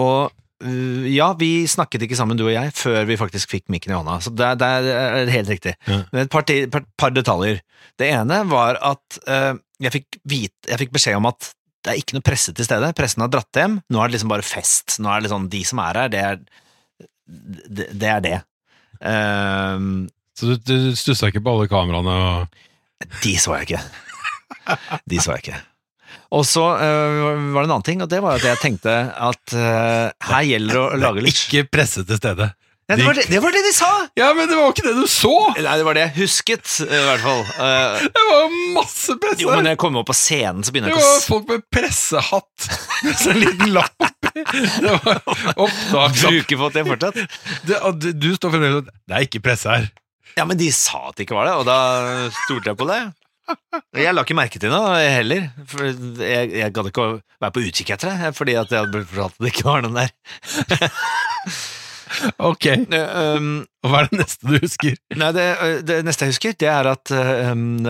[SPEAKER 2] Og eh, ja, vi snakket ikke sammen, du og jeg, før vi faktisk fikk mikken i hånda. Så det, det er helt riktig.
[SPEAKER 1] Ja.
[SPEAKER 2] Men et par, ti- par, par detaljer. Det ene var at eh, jeg, fikk vite, jeg fikk beskjed om at det er ikke noe presse til stede. Pressen har dratt hjem. Nå er det liksom bare fest. Nå er det liksom De som er her, det er det. det, er det. Eh,
[SPEAKER 1] Så du, du stussa ikke på alle kameraene og
[SPEAKER 2] De så jeg ikke. De så jeg ikke. Og så øh, var det en annen ting, og det var at jeg tenkte at øh, her gjelder det å lage litt
[SPEAKER 1] Ikke presse til stede.
[SPEAKER 2] ja, det, var det, det var det de sa!
[SPEAKER 1] Ja, men det var jo ikke det du så!
[SPEAKER 2] Nei, det var det jeg husket, øh, i hvert fall. Eh,
[SPEAKER 1] Det var jo masse presse!
[SPEAKER 2] jo, men når jeg kommer opp på scenen, så begynner
[SPEAKER 1] det
[SPEAKER 2] jeg ikke å
[SPEAKER 1] var
[SPEAKER 2] s-
[SPEAKER 1] folk med pressehatt *laughs* med sånn liten lapp oppi. Det *laughs* var opptaksopp.
[SPEAKER 2] bruke for at jeg fortsatt.
[SPEAKER 1] Det- og Du, du står fremdeles og Det er ikke presse her.
[SPEAKER 2] Ja, men de sa at det ikke var det, og da stolte jeg på det. Jeg la ikke merke til noe jeg heller. For jeg, jeg gadd ikke å være på utkikk etter det, fordi at jeg hadde blitt fortalt at det ikke var den der.
[SPEAKER 1] Ok,
[SPEAKER 2] Eh, Um,
[SPEAKER 1] og hva er det neste du husker?
[SPEAKER 2] Nei, det, det neste jeg husker, det er at øhm,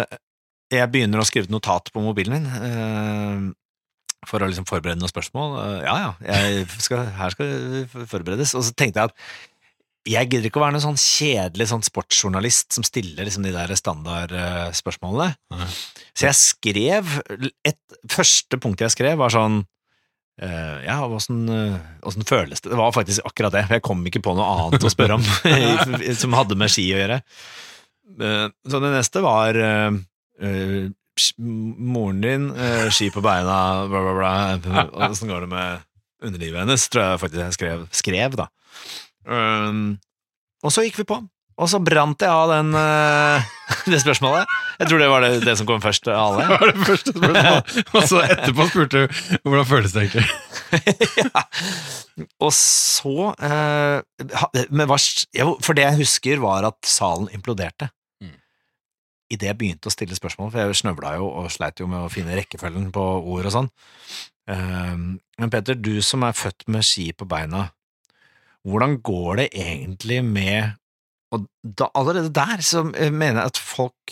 [SPEAKER 2] jeg begynner å skrive et notat på mobilen min. øhm, for å liksom forberede noen spørsmål. Øh, ja, ja, jeg skal, her skal det forberedes. Og så tenkte jeg at jeg gidder ikke å være noen sånn kjedelig sånn sportsjournalist som stiller liksom de der standardspørsmålene.
[SPEAKER 1] Nei.
[SPEAKER 2] så jeg skrev et, Første punktet jeg skrev, var sånn øh, ja, åssen føles det? Det var faktisk akkurat det. for Jeg kom ikke på noe annet å spørre om *laughs* som hadde med ski å gjøre. Eh, Så det neste var eh, eh, sk- moren din, eh, ski på beina, bla, bla, bla. Åssen går det med underlivet hennes, tror jeg faktisk jeg skrev, skrev da. Um, og så gikk vi på. Og så brant jeg av den, eh, *laughs* det spørsmålet. Jeg tror det var det, det som kom først av
[SPEAKER 1] Det
[SPEAKER 2] alle.
[SPEAKER 1] var det første spørsmålet. Og så etterpå spurte du hvordan føles det egentlig.
[SPEAKER 2] *laughs* ja. Og så eh, ha- men hva, s- jo, For det jeg husker, var at salen imploderte.
[SPEAKER 1] Mm.
[SPEAKER 2] Idet jeg begynte å stille spørsmål, for jeg snøvla jo og sleit jo med å finne rekkefølgen på ord og sånn. Eh, men Peter, du som er født med ski på beina, hvordan går det egentlig med Og da, allerede der så eh, mener jeg at folk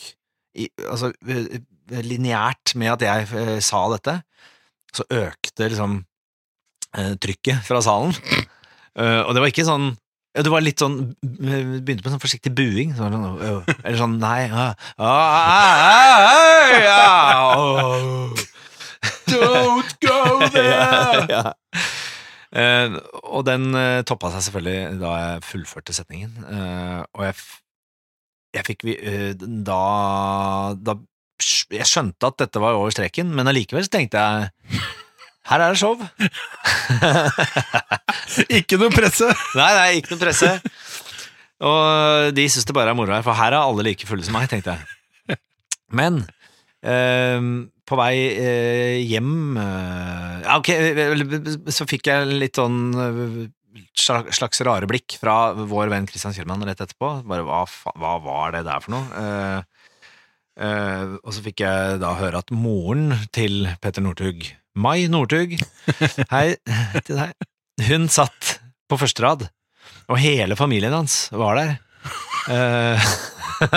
[SPEAKER 2] i, Altså eh, eh, lineært med at jeg eh, sa dette, så økte liksom eh, trykket fra salen. Eh, og det var ikke sånn ja, det var litt sånn eh, Begynte med sånn forsiktig buing. Sånn, øh, øh, eller sånn nei ah, ah, ah, ah, ja, åh.
[SPEAKER 1] Don't go
[SPEAKER 2] Ja,
[SPEAKER 1] *laughs*
[SPEAKER 2] ja. Eh, og den eh, toppa seg selvfølgelig da jeg fullførte setningen. Eh, og jeg, f jeg fikk vi- eh, da, da skj- Jeg skjønte at dette var over streken, men allikevel så tenkte jeg her er det show.
[SPEAKER 1] Ikke noe presse!
[SPEAKER 2] Nei, nei, ikke noe presse. Og de syns det bare er moro her, for her er alle like fulle som meg, tenkte jeg. Men ehm, på vei eh, hjem eh, ja, Ok, vel, så fikk jeg litt sånn eh, sla- slags rare blikk fra vår venn Christian Kjellmann rett etterpå. Bare hva, fa hva var det der for noe? Eh, eh, og så fikk jeg da høre at moren til Petter Northug, Mai Northug *laughs* Hei til deg. Hun satt på første rad, og hele familien hans var der. Eh, *laughs*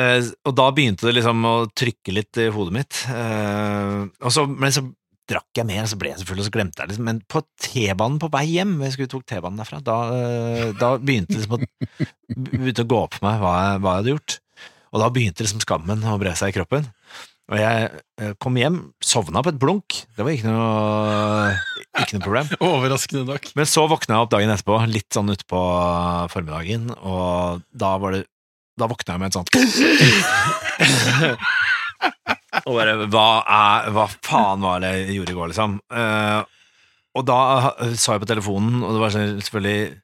[SPEAKER 2] eh, og da begynte det liksom å trykke litt i hodet mitt. Eh, og så, men så drakk jeg mer, og så ble jeg så full, og så glemte jeg liksom. Men på T-banen på vei hjem, jeg skulle tok T-banen derfra, da, eh, da begynte det liksom å, begynte å gå opp for meg hva jeg, hva jeg hadde gjort. Og da begynte liksom skammen å bre seg i kroppen. Og jeg eh, kom hjem, sovna på et blunk. Det var ikke noe, ikke noe problem.
[SPEAKER 1] Overraskende nok.
[SPEAKER 2] Men så våkna jeg opp dagen etterpå, litt sånn utpå formiddagen, og da var det Da våkna jeg med et sånt *laughs* Og bare hva, er, hva faen var det jeg gjorde i går, liksom? Eh, og da eh, sa jeg på telefonen, og det var sånn selvfølgelig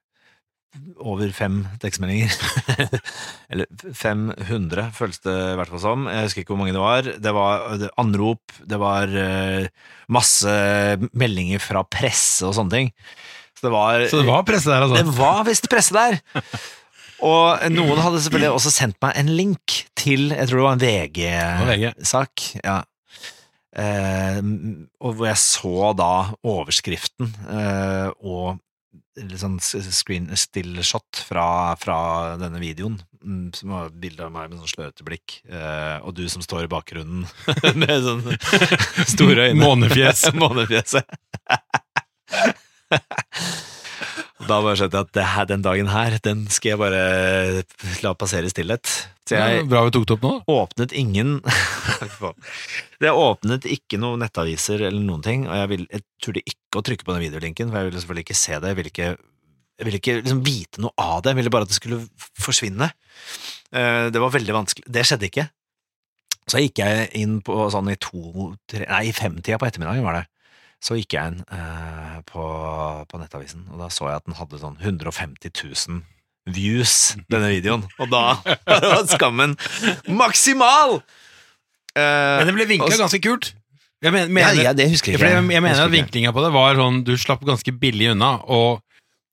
[SPEAKER 2] over fem tekstmeldinger. *laughs* Eller 500, føles det i hvert fall som. Jeg husker ikke hvor mange det var. Det var eh, anrop, det var eh, masse meldinger fra presse og sånne ting. Så det var,
[SPEAKER 1] Så det var presse der, altså?
[SPEAKER 2] det var visst presse der! Og noen hadde selvfølgelig også sendt meg en link til Jeg tror det var en
[SPEAKER 1] Det var
[SPEAKER 2] VG-sak.
[SPEAKER 1] VG.
[SPEAKER 2] ja. Eh, og hvor jeg så da overskriften eh, og litt sånn s- screen still shot fra, fra denne videoen. mm, Som var et bilde av meg med sånn slørete blikk, eh, og du som står i bakgrunnen *laughs* med sånn store øyne.
[SPEAKER 1] Månefjes.
[SPEAKER 2] Månefjeset. Da bare skjønte jeg at det her, den dagen her, den skal jeg bare eh, la passere i stillhet. Så jeg,
[SPEAKER 1] Bra vi tok *laughs* det opp nå.
[SPEAKER 2] åpnet ingen *laughs* Det åpnet ikke noen nettaviser eller noen ting, og jeg, vil, jeg turde ikke å trykke på den videolinken, for jeg ville selvfølgelig ikke se det. Jeg ville ikke, jeg ville ikke liksom vite noe av det, jeg ville bare at det skulle forsvinne. Eh, Det var veldig vanskelig. Det skjedde ikke. Så gikk jeg inn på sånn i to, tre, nei, i femtida på ettermiddagen var det. Så gikk jeg inn eh, på, på nettavisen, og da så jeg at den hadde sånn 150 000 views, denne videoen. Og da *laughs* var skammen maksimal! Eh,
[SPEAKER 1] Men det ble vinkla
[SPEAKER 2] og-
[SPEAKER 1] ganske kult. Jeg men-
[SPEAKER 2] ja,
[SPEAKER 1] mener,
[SPEAKER 2] ja, det husker
[SPEAKER 1] Ja,
[SPEAKER 2] jeg
[SPEAKER 1] for
[SPEAKER 2] ikke.
[SPEAKER 1] jeg, jeg mener
[SPEAKER 2] Husker
[SPEAKER 1] at
[SPEAKER 2] ikke.
[SPEAKER 1] vinklinga på det var sånn Du slapp ganske billig unna, og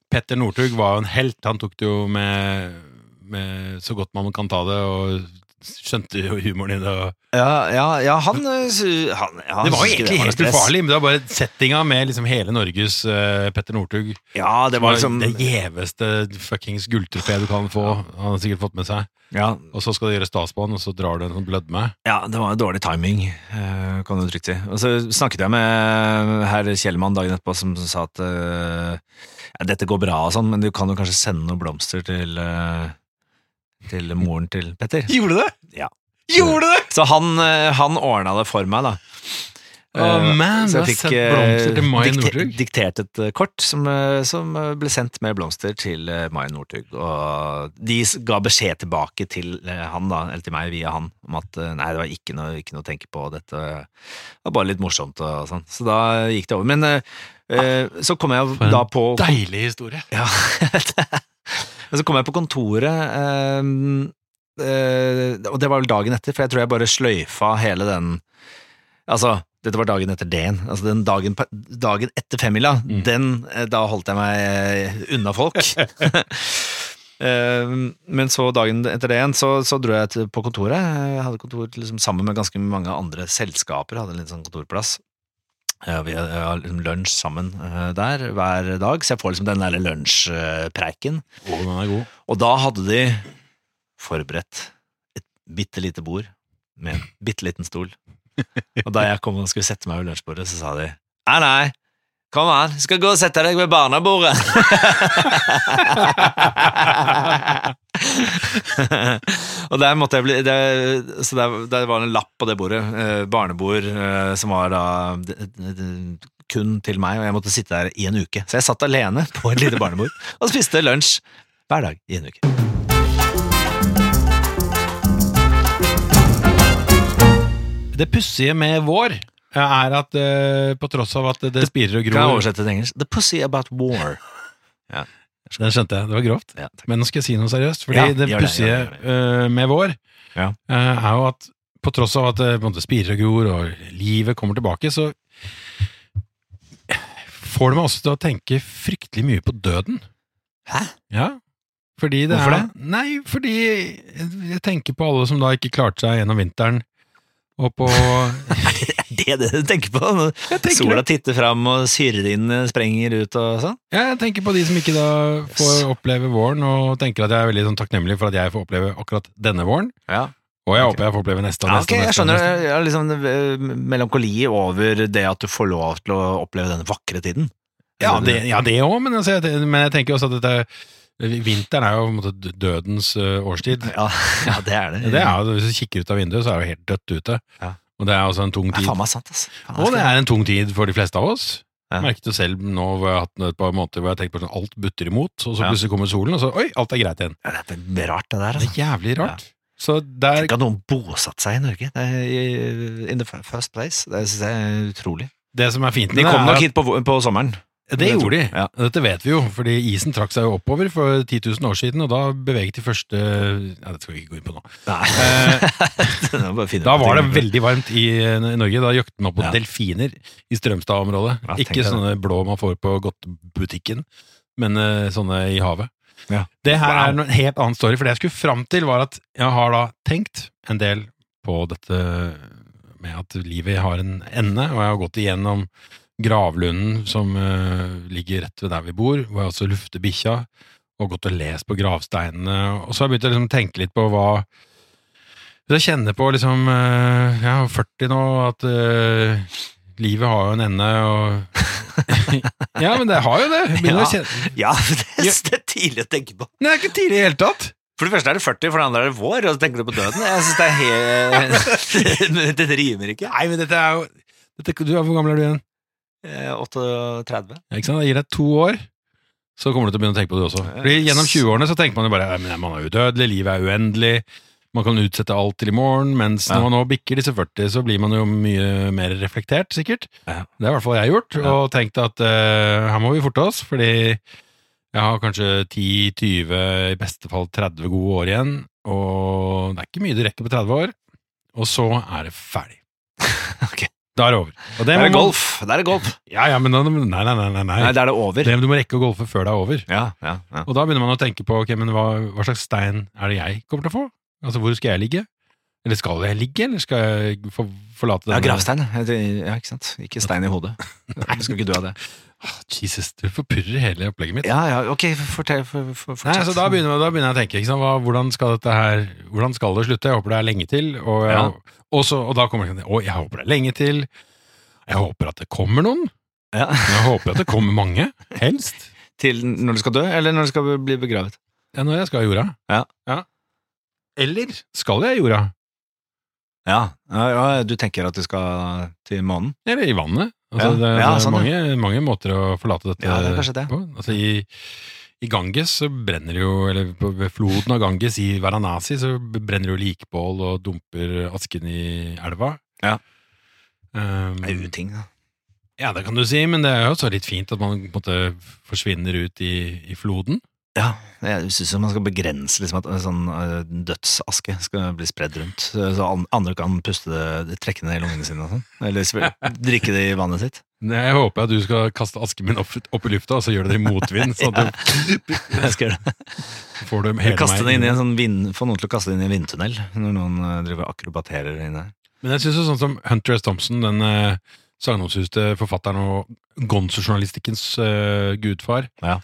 [SPEAKER 1] Petter Northug var jo en helt. Han tok det jo med, med så godt man kan ta det, og skjønte jo humoren i det. Og,
[SPEAKER 2] Ja, ja, ja han, eh, su- han, ja, han
[SPEAKER 1] det var
[SPEAKER 2] synes
[SPEAKER 1] jo
[SPEAKER 2] ikke
[SPEAKER 1] egentlig
[SPEAKER 2] noe
[SPEAKER 1] helt
[SPEAKER 2] stress.
[SPEAKER 1] ufarlig, men det var bare settinga med liksom hele Norges eh, Petter Northug.
[SPEAKER 2] Ja, det var liksom
[SPEAKER 1] det gjeveste fuckings gulltrofé du kan få. Han har sikkert fått med seg.
[SPEAKER 2] ja,
[SPEAKER 1] Og så skal du gjøre stas på han, og så drar du en sånn blødme.
[SPEAKER 2] ja, det var dårlig timing, eh, kan du trygt si. Og så snakket jeg med herr Kjellmann dagen etterpå, som sa at eh, ja, dette går bra og sånn, men du kan jo kanskje sende noen blomster til eh, til moren til Petter.
[SPEAKER 1] Gjorde du det?!
[SPEAKER 2] Ja.
[SPEAKER 1] Gjorde du det?!
[SPEAKER 2] Så han, eh, han ordna det for meg, da.
[SPEAKER 1] Oh,
[SPEAKER 2] Eh,
[SPEAKER 1] man, du
[SPEAKER 2] så jeg
[SPEAKER 1] har
[SPEAKER 2] fikk
[SPEAKER 1] sendt blomster til Mai
[SPEAKER 2] eh, dikte-
[SPEAKER 1] Northug.
[SPEAKER 2] diktert et eh, kort som, eh, som eh, ble sendt med blomster til eh, Mai Northug. Og de s- ga beskjed tilbake til eh, han, da, eller til meg via han, om at eh, nei, det var ikke noe, ikke noe å tenke på, dette var bare litt morsomt og sånn. Så da gikk det over. Men eh, eh, så kom jeg
[SPEAKER 1] For en
[SPEAKER 2] da på
[SPEAKER 1] Deilig historie.
[SPEAKER 2] ja, *laughs* jeg vet det. Men så kom jeg på kontoret, eh, eh, og det var vel dagen etter, for jeg tror jeg bare sløyfa hele den Altså, dette var dagen etter D-en. Altså den dagen, pa- dagen etter femmila,
[SPEAKER 1] Mm.
[SPEAKER 2] den eh, Da holdt jeg meg eh, unna folk. Eh, Men så dagen etter det igjen, så, så dro jeg til, på kontoret. Jeg hadde kontor liksom, sammen med ganske mange andre selskaper. Jeg hadde en liten sånn kontorplass. Ja, vi har- har liksom lunsj sammen eh, der hver dag, så jeg får liksom den der lunsjpreiken.
[SPEAKER 1] Å, den er god.
[SPEAKER 2] Og da hadde de forberedt et bitte lite bord med en bitte liten stol. Og da jeg kom og skulle sette meg ved lunsjbordet, så sa de Nei, nei, kom an, du skal gå og sette deg ved barnebordet. *laughs* og der måtte jeg bli det, Så der, der var det en lapp på det bordet. Eh, barnebord eh, som var da d, d, d, kun til meg, og jeg måtte sitte der i en uke. Så jeg satt alene på et lite barnebord og spiste lunsj hver dag i en uke.
[SPEAKER 1] Det pussige med vår eh, er at eh, på tross av at det spirer og
[SPEAKER 2] Kan jeg
[SPEAKER 1] gror
[SPEAKER 2] oversette til engelsk? The pussy about
[SPEAKER 1] *laughs*
[SPEAKER 2] war.
[SPEAKER 1] Den skjønte jeg, det var grovt.
[SPEAKER 2] Ja, takk.
[SPEAKER 1] Men nå skal jeg si noe seriøst, fordi
[SPEAKER 2] Ja,
[SPEAKER 1] det
[SPEAKER 2] gjør det,
[SPEAKER 1] pussige
[SPEAKER 2] gjør det,
[SPEAKER 1] eh, med vår
[SPEAKER 2] Ja.
[SPEAKER 1] eh, er jo at på tross av at det på en måte spirer og gror, og livet kommer tilbake, så får det meg også til å tenke fryktelig mye på døden.
[SPEAKER 2] Hæ?
[SPEAKER 1] Ja. Fordi det
[SPEAKER 2] Hvorfor
[SPEAKER 1] er, Nei, fordi jeg tenker på alle som da ikke klarte seg gjennom vinteren, og
[SPEAKER 2] *laughs*
[SPEAKER 1] på
[SPEAKER 2] Det er det du tenker på? når
[SPEAKER 1] Jeg tenker
[SPEAKER 2] Sola titter fram, og syredinene sprenger ut og sånn?
[SPEAKER 1] Ja, jeg tenker på de som ikke da
[SPEAKER 2] Yes.
[SPEAKER 1] får oppleve våren, og tenker at jeg er veldig sånn takknemlig for at jeg får oppleve akkurat denne våren.
[SPEAKER 2] Ja.
[SPEAKER 1] Og jeg
[SPEAKER 2] Ok.
[SPEAKER 1] håper jeg får oppleve neste og
[SPEAKER 2] Ja,
[SPEAKER 1] neste. og
[SPEAKER 2] ok, jeg
[SPEAKER 1] neste, og
[SPEAKER 2] skjønner
[SPEAKER 1] neste.
[SPEAKER 2] jeg har liksom eh, melankoli over det at du får lov til å oppleve denne vakre tiden.
[SPEAKER 1] Ja, det, ja, det òg, men, altså, jeg- men jeg tenker også at dette, vinteren er jo på en måte dødens ø, årstid.
[SPEAKER 2] Ja, *laughs* ja, det er det.
[SPEAKER 1] Det er, jo- hvis du kikker ut av vinduet, så er det jo helt dødt ute.
[SPEAKER 2] Mm. Ja.
[SPEAKER 1] Og det er også en tung
[SPEAKER 2] Det er
[SPEAKER 1] tid.
[SPEAKER 2] faen meg sant, ass. Faen,
[SPEAKER 1] Og det er en tung tid for de fleste av oss.
[SPEAKER 2] Ja.
[SPEAKER 1] Jeg merket det selv nå hvor jeg har hatt et par måneder hvor jeg har tenkt på sånn alt butter imot, og så
[SPEAKER 2] Ja.
[SPEAKER 1] plutselig kommer solen, og så oi, alt er greit igjen.
[SPEAKER 2] Ja, det er rart, det der.
[SPEAKER 1] Det er
[SPEAKER 2] Altså.
[SPEAKER 1] jævlig rart. Så der
[SPEAKER 2] Tenk at noen bosatte seg i Norge. Det er, i- in the first place. Det syns jeg er utrolig.
[SPEAKER 1] Det som er fint med
[SPEAKER 2] De
[SPEAKER 1] det,
[SPEAKER 2] kom
[SPEAKER 1] er at-
[SPEAKER 2] nok hit på, på sommeren.
[SPEAKER 1] Det
[SPEAKER 2] Det tror
[SPEAKER 1] gjorde de.
[SPEAKER 2] jeg, ja.
[SPEAKER 1] Dette vet vi jo, fordi isen trakk seg jo oppover for 10 000 år siden, og da beveget de første ja, Det skal vi ikke gå inn på nå.
[SPEAKER 2] Nei. *laughs*
[SPEAKER 1] Eh, da
[SPEAKER 2] da
[SPEAKER 1] var det veldig varmt i eh, Norge. Da jaktet man på
[SPEAKER 2] Ja.
[SPEAKER 1] delfiner i Strømstad-området.
[SPEAKER 2] Ja, tenk
[SPEAKER 1] ikke
[SPEAKER 2] deg det.
[SPEAKER 1] sånne blå man får på godtebutikken, men eh, sånne i havet.
[SPEAKER 2] Ja.
[SPEAKER 1] Det her
[SPEAKER 2] Wow.
[SPEAKER 1] er en helt annen story, for det jeg skulle fram til, var at jeg har da tenkt en del på dette med at livet har en ende, og jeg har gått igjennom gravlunden som eh, ligger rett ved der vi bor, hvor jeg også lufter bikkja, og gått og lest på gravsteinene, og så har jeg begynt å liksom tenke litt på hva Hvis jeg kjenner på liksom eh, Jeg er 40 nå, at eh, livet har jo en ende, og *laughs* Ja, men det har jo det! Begynner å
[SPEAKER 2] Ja.
[SPEAKER 1] kjenne
[SPEAKER 2] Ja, det er det er tidlig å tenke på.
[SPEAKER 1] Men det er ikke tidlig i det hele tatt!
[SPEAKER 2] For det første er det 40, for det andre er det vår, og så tenker du på døden. Jeg synes det er helt *laughs* Dette rimer ikke.
[SPEAKER 1] Nei, men dette er jo dette, du, er- Hvor gammel er du igjen?
[SPEAKER 2] Eh, 38.
[SPEAKER 1] Ja, ikke sant? Jeg gir deg to år, så kommer du til å begynne å tenke på det også. Fordi Gjennom 20-årene så tenker man jo bare "Nei, men man er udødelig, livet er uendelig, man kan utsette alt til i morgen, mens
[SPEAKER 2] Ja.
[SPEAKER 1] når man nå bikker disse 40, så blir man jo mye mer reflektert, sikkert.
[SPEAKER 2] Ja.
[SPEAKER 1] Det har i hvert fall jeg gjort,
[SPEAKER 2] Ja.
[SPEAKER 1] og tenkt at eh, her må vi forte oss, fordi jeg har kanskje 10-20, i beste fall 30 gode år igjen, og det er ikke mye du rekker på 30 år, og så er det ferdig.
[SPEAKER 2] *laughs* Ok.
[SPEAKER 1] Da er det over. Og
[SPEAKER 2] Der er
[SPEAKER 1] må man-
[SPEAKER 2] golf. Der er golf.
[SPEAKER 1] Ja, ja, men da- nei, nei, nei, nei,
[SPEAKER 2] Nei, der er det over.
[SPEAKER 1] det, du må rekke å golfe før det er over.
[SPEAKER 2] Ja, ja, ja.
[SPEAKER 1] Og da begynner man å tenke på ok, men hva, hva slags stein er det jeg kommer til å få? Altså, hvor skal jeg ligge? Eller skal jeg ligge, eller skal jeg få, forlate
[SPEAKER 2] Ja,
[SPEAKER 1] denne-
[SPEAKER 2] gravstein. ja. Det- Ja, ikke sant. Ikke stein
[SPEAKER 1] *laughs*
[SPEAKER 2] i hodet. Du skal ikke dø av det.
[SPEAKER 1] Ah, Jesus, du forpurrer hele opplegget mitt.
[SPEAKER 2] Ja, ja, ok, fortell. For, for,
[SPEAKER 1] Nei,
[SPEAKER 2] fortsett.
[SPEAKER 1] så da begynner, da begynner jeg å tenke, ikke sant? Hva, hvordan, skal dette her, hvordan skal det slutte? Jeg håper det er lenge til. Og, jeg,
[SPEAKER 2] Ja.
[SPEAKER 1] og, så, og da kommer jeg til å, jeg håper det er lenge til. Jeg håper at det kommer noen.
[SPEAKER 2] Ja.
[SPEAKER 1] Jeg håper at det kommer mange,
[SPEAKER 2] *laughs*
[SPEAKER 1] helst.
[SPEAKER 2] Til når du skal dø, eller når du skal bli begravet?
[SPEAKER 1] Ja, når jeg skal i jorda.
[SPEAKER 2] Ja.
[SPEAKER 1] Eller skal jeg i jorda?
[SPEAKER 2] Ja, ja, ja du tenker at du skal til månen?
[SPEAKER 1] Eller i vannet. Altså,
[SPEAKER 2] Ja.
[SPEAKER 1] Det,
[SPEAKER 2] Ja,
[SPEAKER 1] det er
[SPEAKER 2] sånn,
[SPEAKER 1] mange, mange måter å forlate dette
[SPEAKER 2] Ja, det er kanskje det.
[SPEAKER 1] på. Altså, i, I Ganges så brenner jo, eller på, ved floden av Ganges i Varanasi, så brenner jo likbål og dumper asken i elva.
[SPEAKER 2] Ja.
[SPEAKER 1] Um,
[SPEAKER 2] Det er jo ting, da.
[SPEAKER 1] ja, det kan du si, men det er jo også litt fint at man på en måte forsvinner ut i, i floden.
[SPEAKER 2] Ja, jeg syns man skal begrense liksom, at en sånn eh, dødsaske skal bli spredd rundt. Så så an- andre kan puste det, trekke det i lungene sine og sånn. Eller sp-
[SPEAKER 1] *laughs*
[SPEAKER 2] drikke det i vannet sitt.
[SPEAKER 1] Jeg håper at du skal kaste asken min opp, opp i lufta, og så gjør du det i motvind, sånn
[SPEAKER 2] *laughs*
[SPEAKER 1] at
[SPEAKER 2] Jeg skal gjøre det.
[SPEAKER 1] du får det
[SPEAKER 2] Eller
[SPEAKER 1] hele
[SPEAKER 2] kaste det inn i
[SPEAKER 1] meg.
[SPEAKER 2] en sånn vind, Få noen til å kaste det inn i en vindtunnel når noen eh, driver og akrobaterer inne her.
[SPEAKER 1] Men jeg synes jo sånn som Hunter S. Thompson, den eh, sagnomsuste forfatteren og Gonzo-journalistikkens eh, gudfar,
[SPEAKER 2] Ja.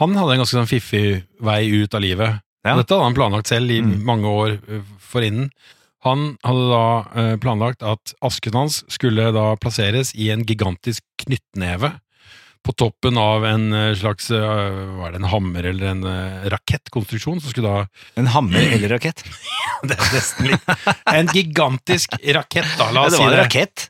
[SPEAKER 1] han hadde en ganske sånn fiffig vei ut av livet.
[SPEAKER 2] Ja.
[SPEAKER 1] Dette hadde han planlagt selv i
[SPEAKER 2] Mm.
[SPEAKER 1] mange år eh, forinnen. Han hadde da eh, planlagt at asken hans skulle da plasseres i en gigantisk knyttneve på toppen av en eh, slags eh, hva er det, en hammer eller en eh, rakettkonstruksjon som
[SPEAKER 2] *laughs*
[SPEAKER 1] skulle da
[SPEAKER 2] En hammer eller rakett?
[SPEAKER 1] det er nesten litt *laughs* En gigantisk rakett, da, la
[SPEAKER 2] Ja,
[SPEAKER 1] oss
[SPEAKER 2] det
[SPEAKER 1] si
[SPEAKER 2] var en
[SPEAKER 1] det.
[SPEAKER 2] rakett!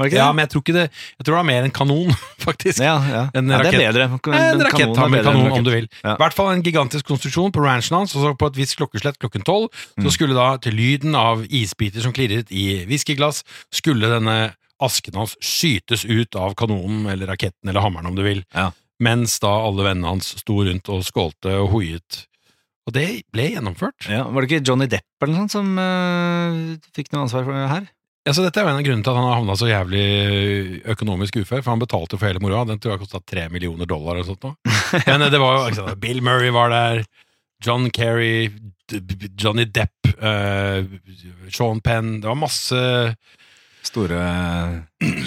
[SPEAKER 2] Var det ikke
[SPEAKER 1] Ja,
[SPEAKER 2] det?
[SPEAKER 1] men jeg tror ikke det Jeg tror det var mer en kanon, *laughs* faktisk.
[SPEAKER 2] Ja, ja.
[SPEAKER 1] En
[SPEAKER 2] ja, det er
[SPEAKER 1] rakett.
[SPEAKER 2] bedre.
[SPEAKER 1] En
[SPEAKER 2] kanon er bedre enn
[SPEAKER 1] raketthammerkanon,
[SPEAKER 2] rakett.
[SPEAKER 1] om du vil.
[SPEAKER 2] Ja.
[SPEAKER 1] I hvert fall en gigantisk konstruksjon på ranchen hans, og så på et visst klokkeslett klokken tolv,
[SPEAKER 2] Mm.
[SPEAKER 1] så skulle da, til lyden av isbiter som klirret i whiskyglass, skulle denne asken hans skytes ut av kanonen eller raketten eller hammeren, om du vil,
[SPEAKER 2] Ja.
[SPEAKER 1] mens da alle vennene hans sto rundt og skålte og hoiet. Og det ble gjennomført.
[SPEAKER 2] Ja, var det ikke Johnny Depp eller noe sånt som eh, fikk noe ansvar for det her?
[SPEAKER 1] Ja, så dette er jo en av grunnene til at han har havna så jævlig eh, økonomisk ufør, for han betalte for hele moroa. Den tror jeg kosta tre millioner dollar eller noe
[SPEAKER 2] *laughs*
[SPEAKER 1] sånt. nå. Men eh, det var jo ikke sant, Bill Murray var der, John Kerry, D- B- Johnny Depp, eh, Sean Penn Det var masse
[SPEAKER 2] Store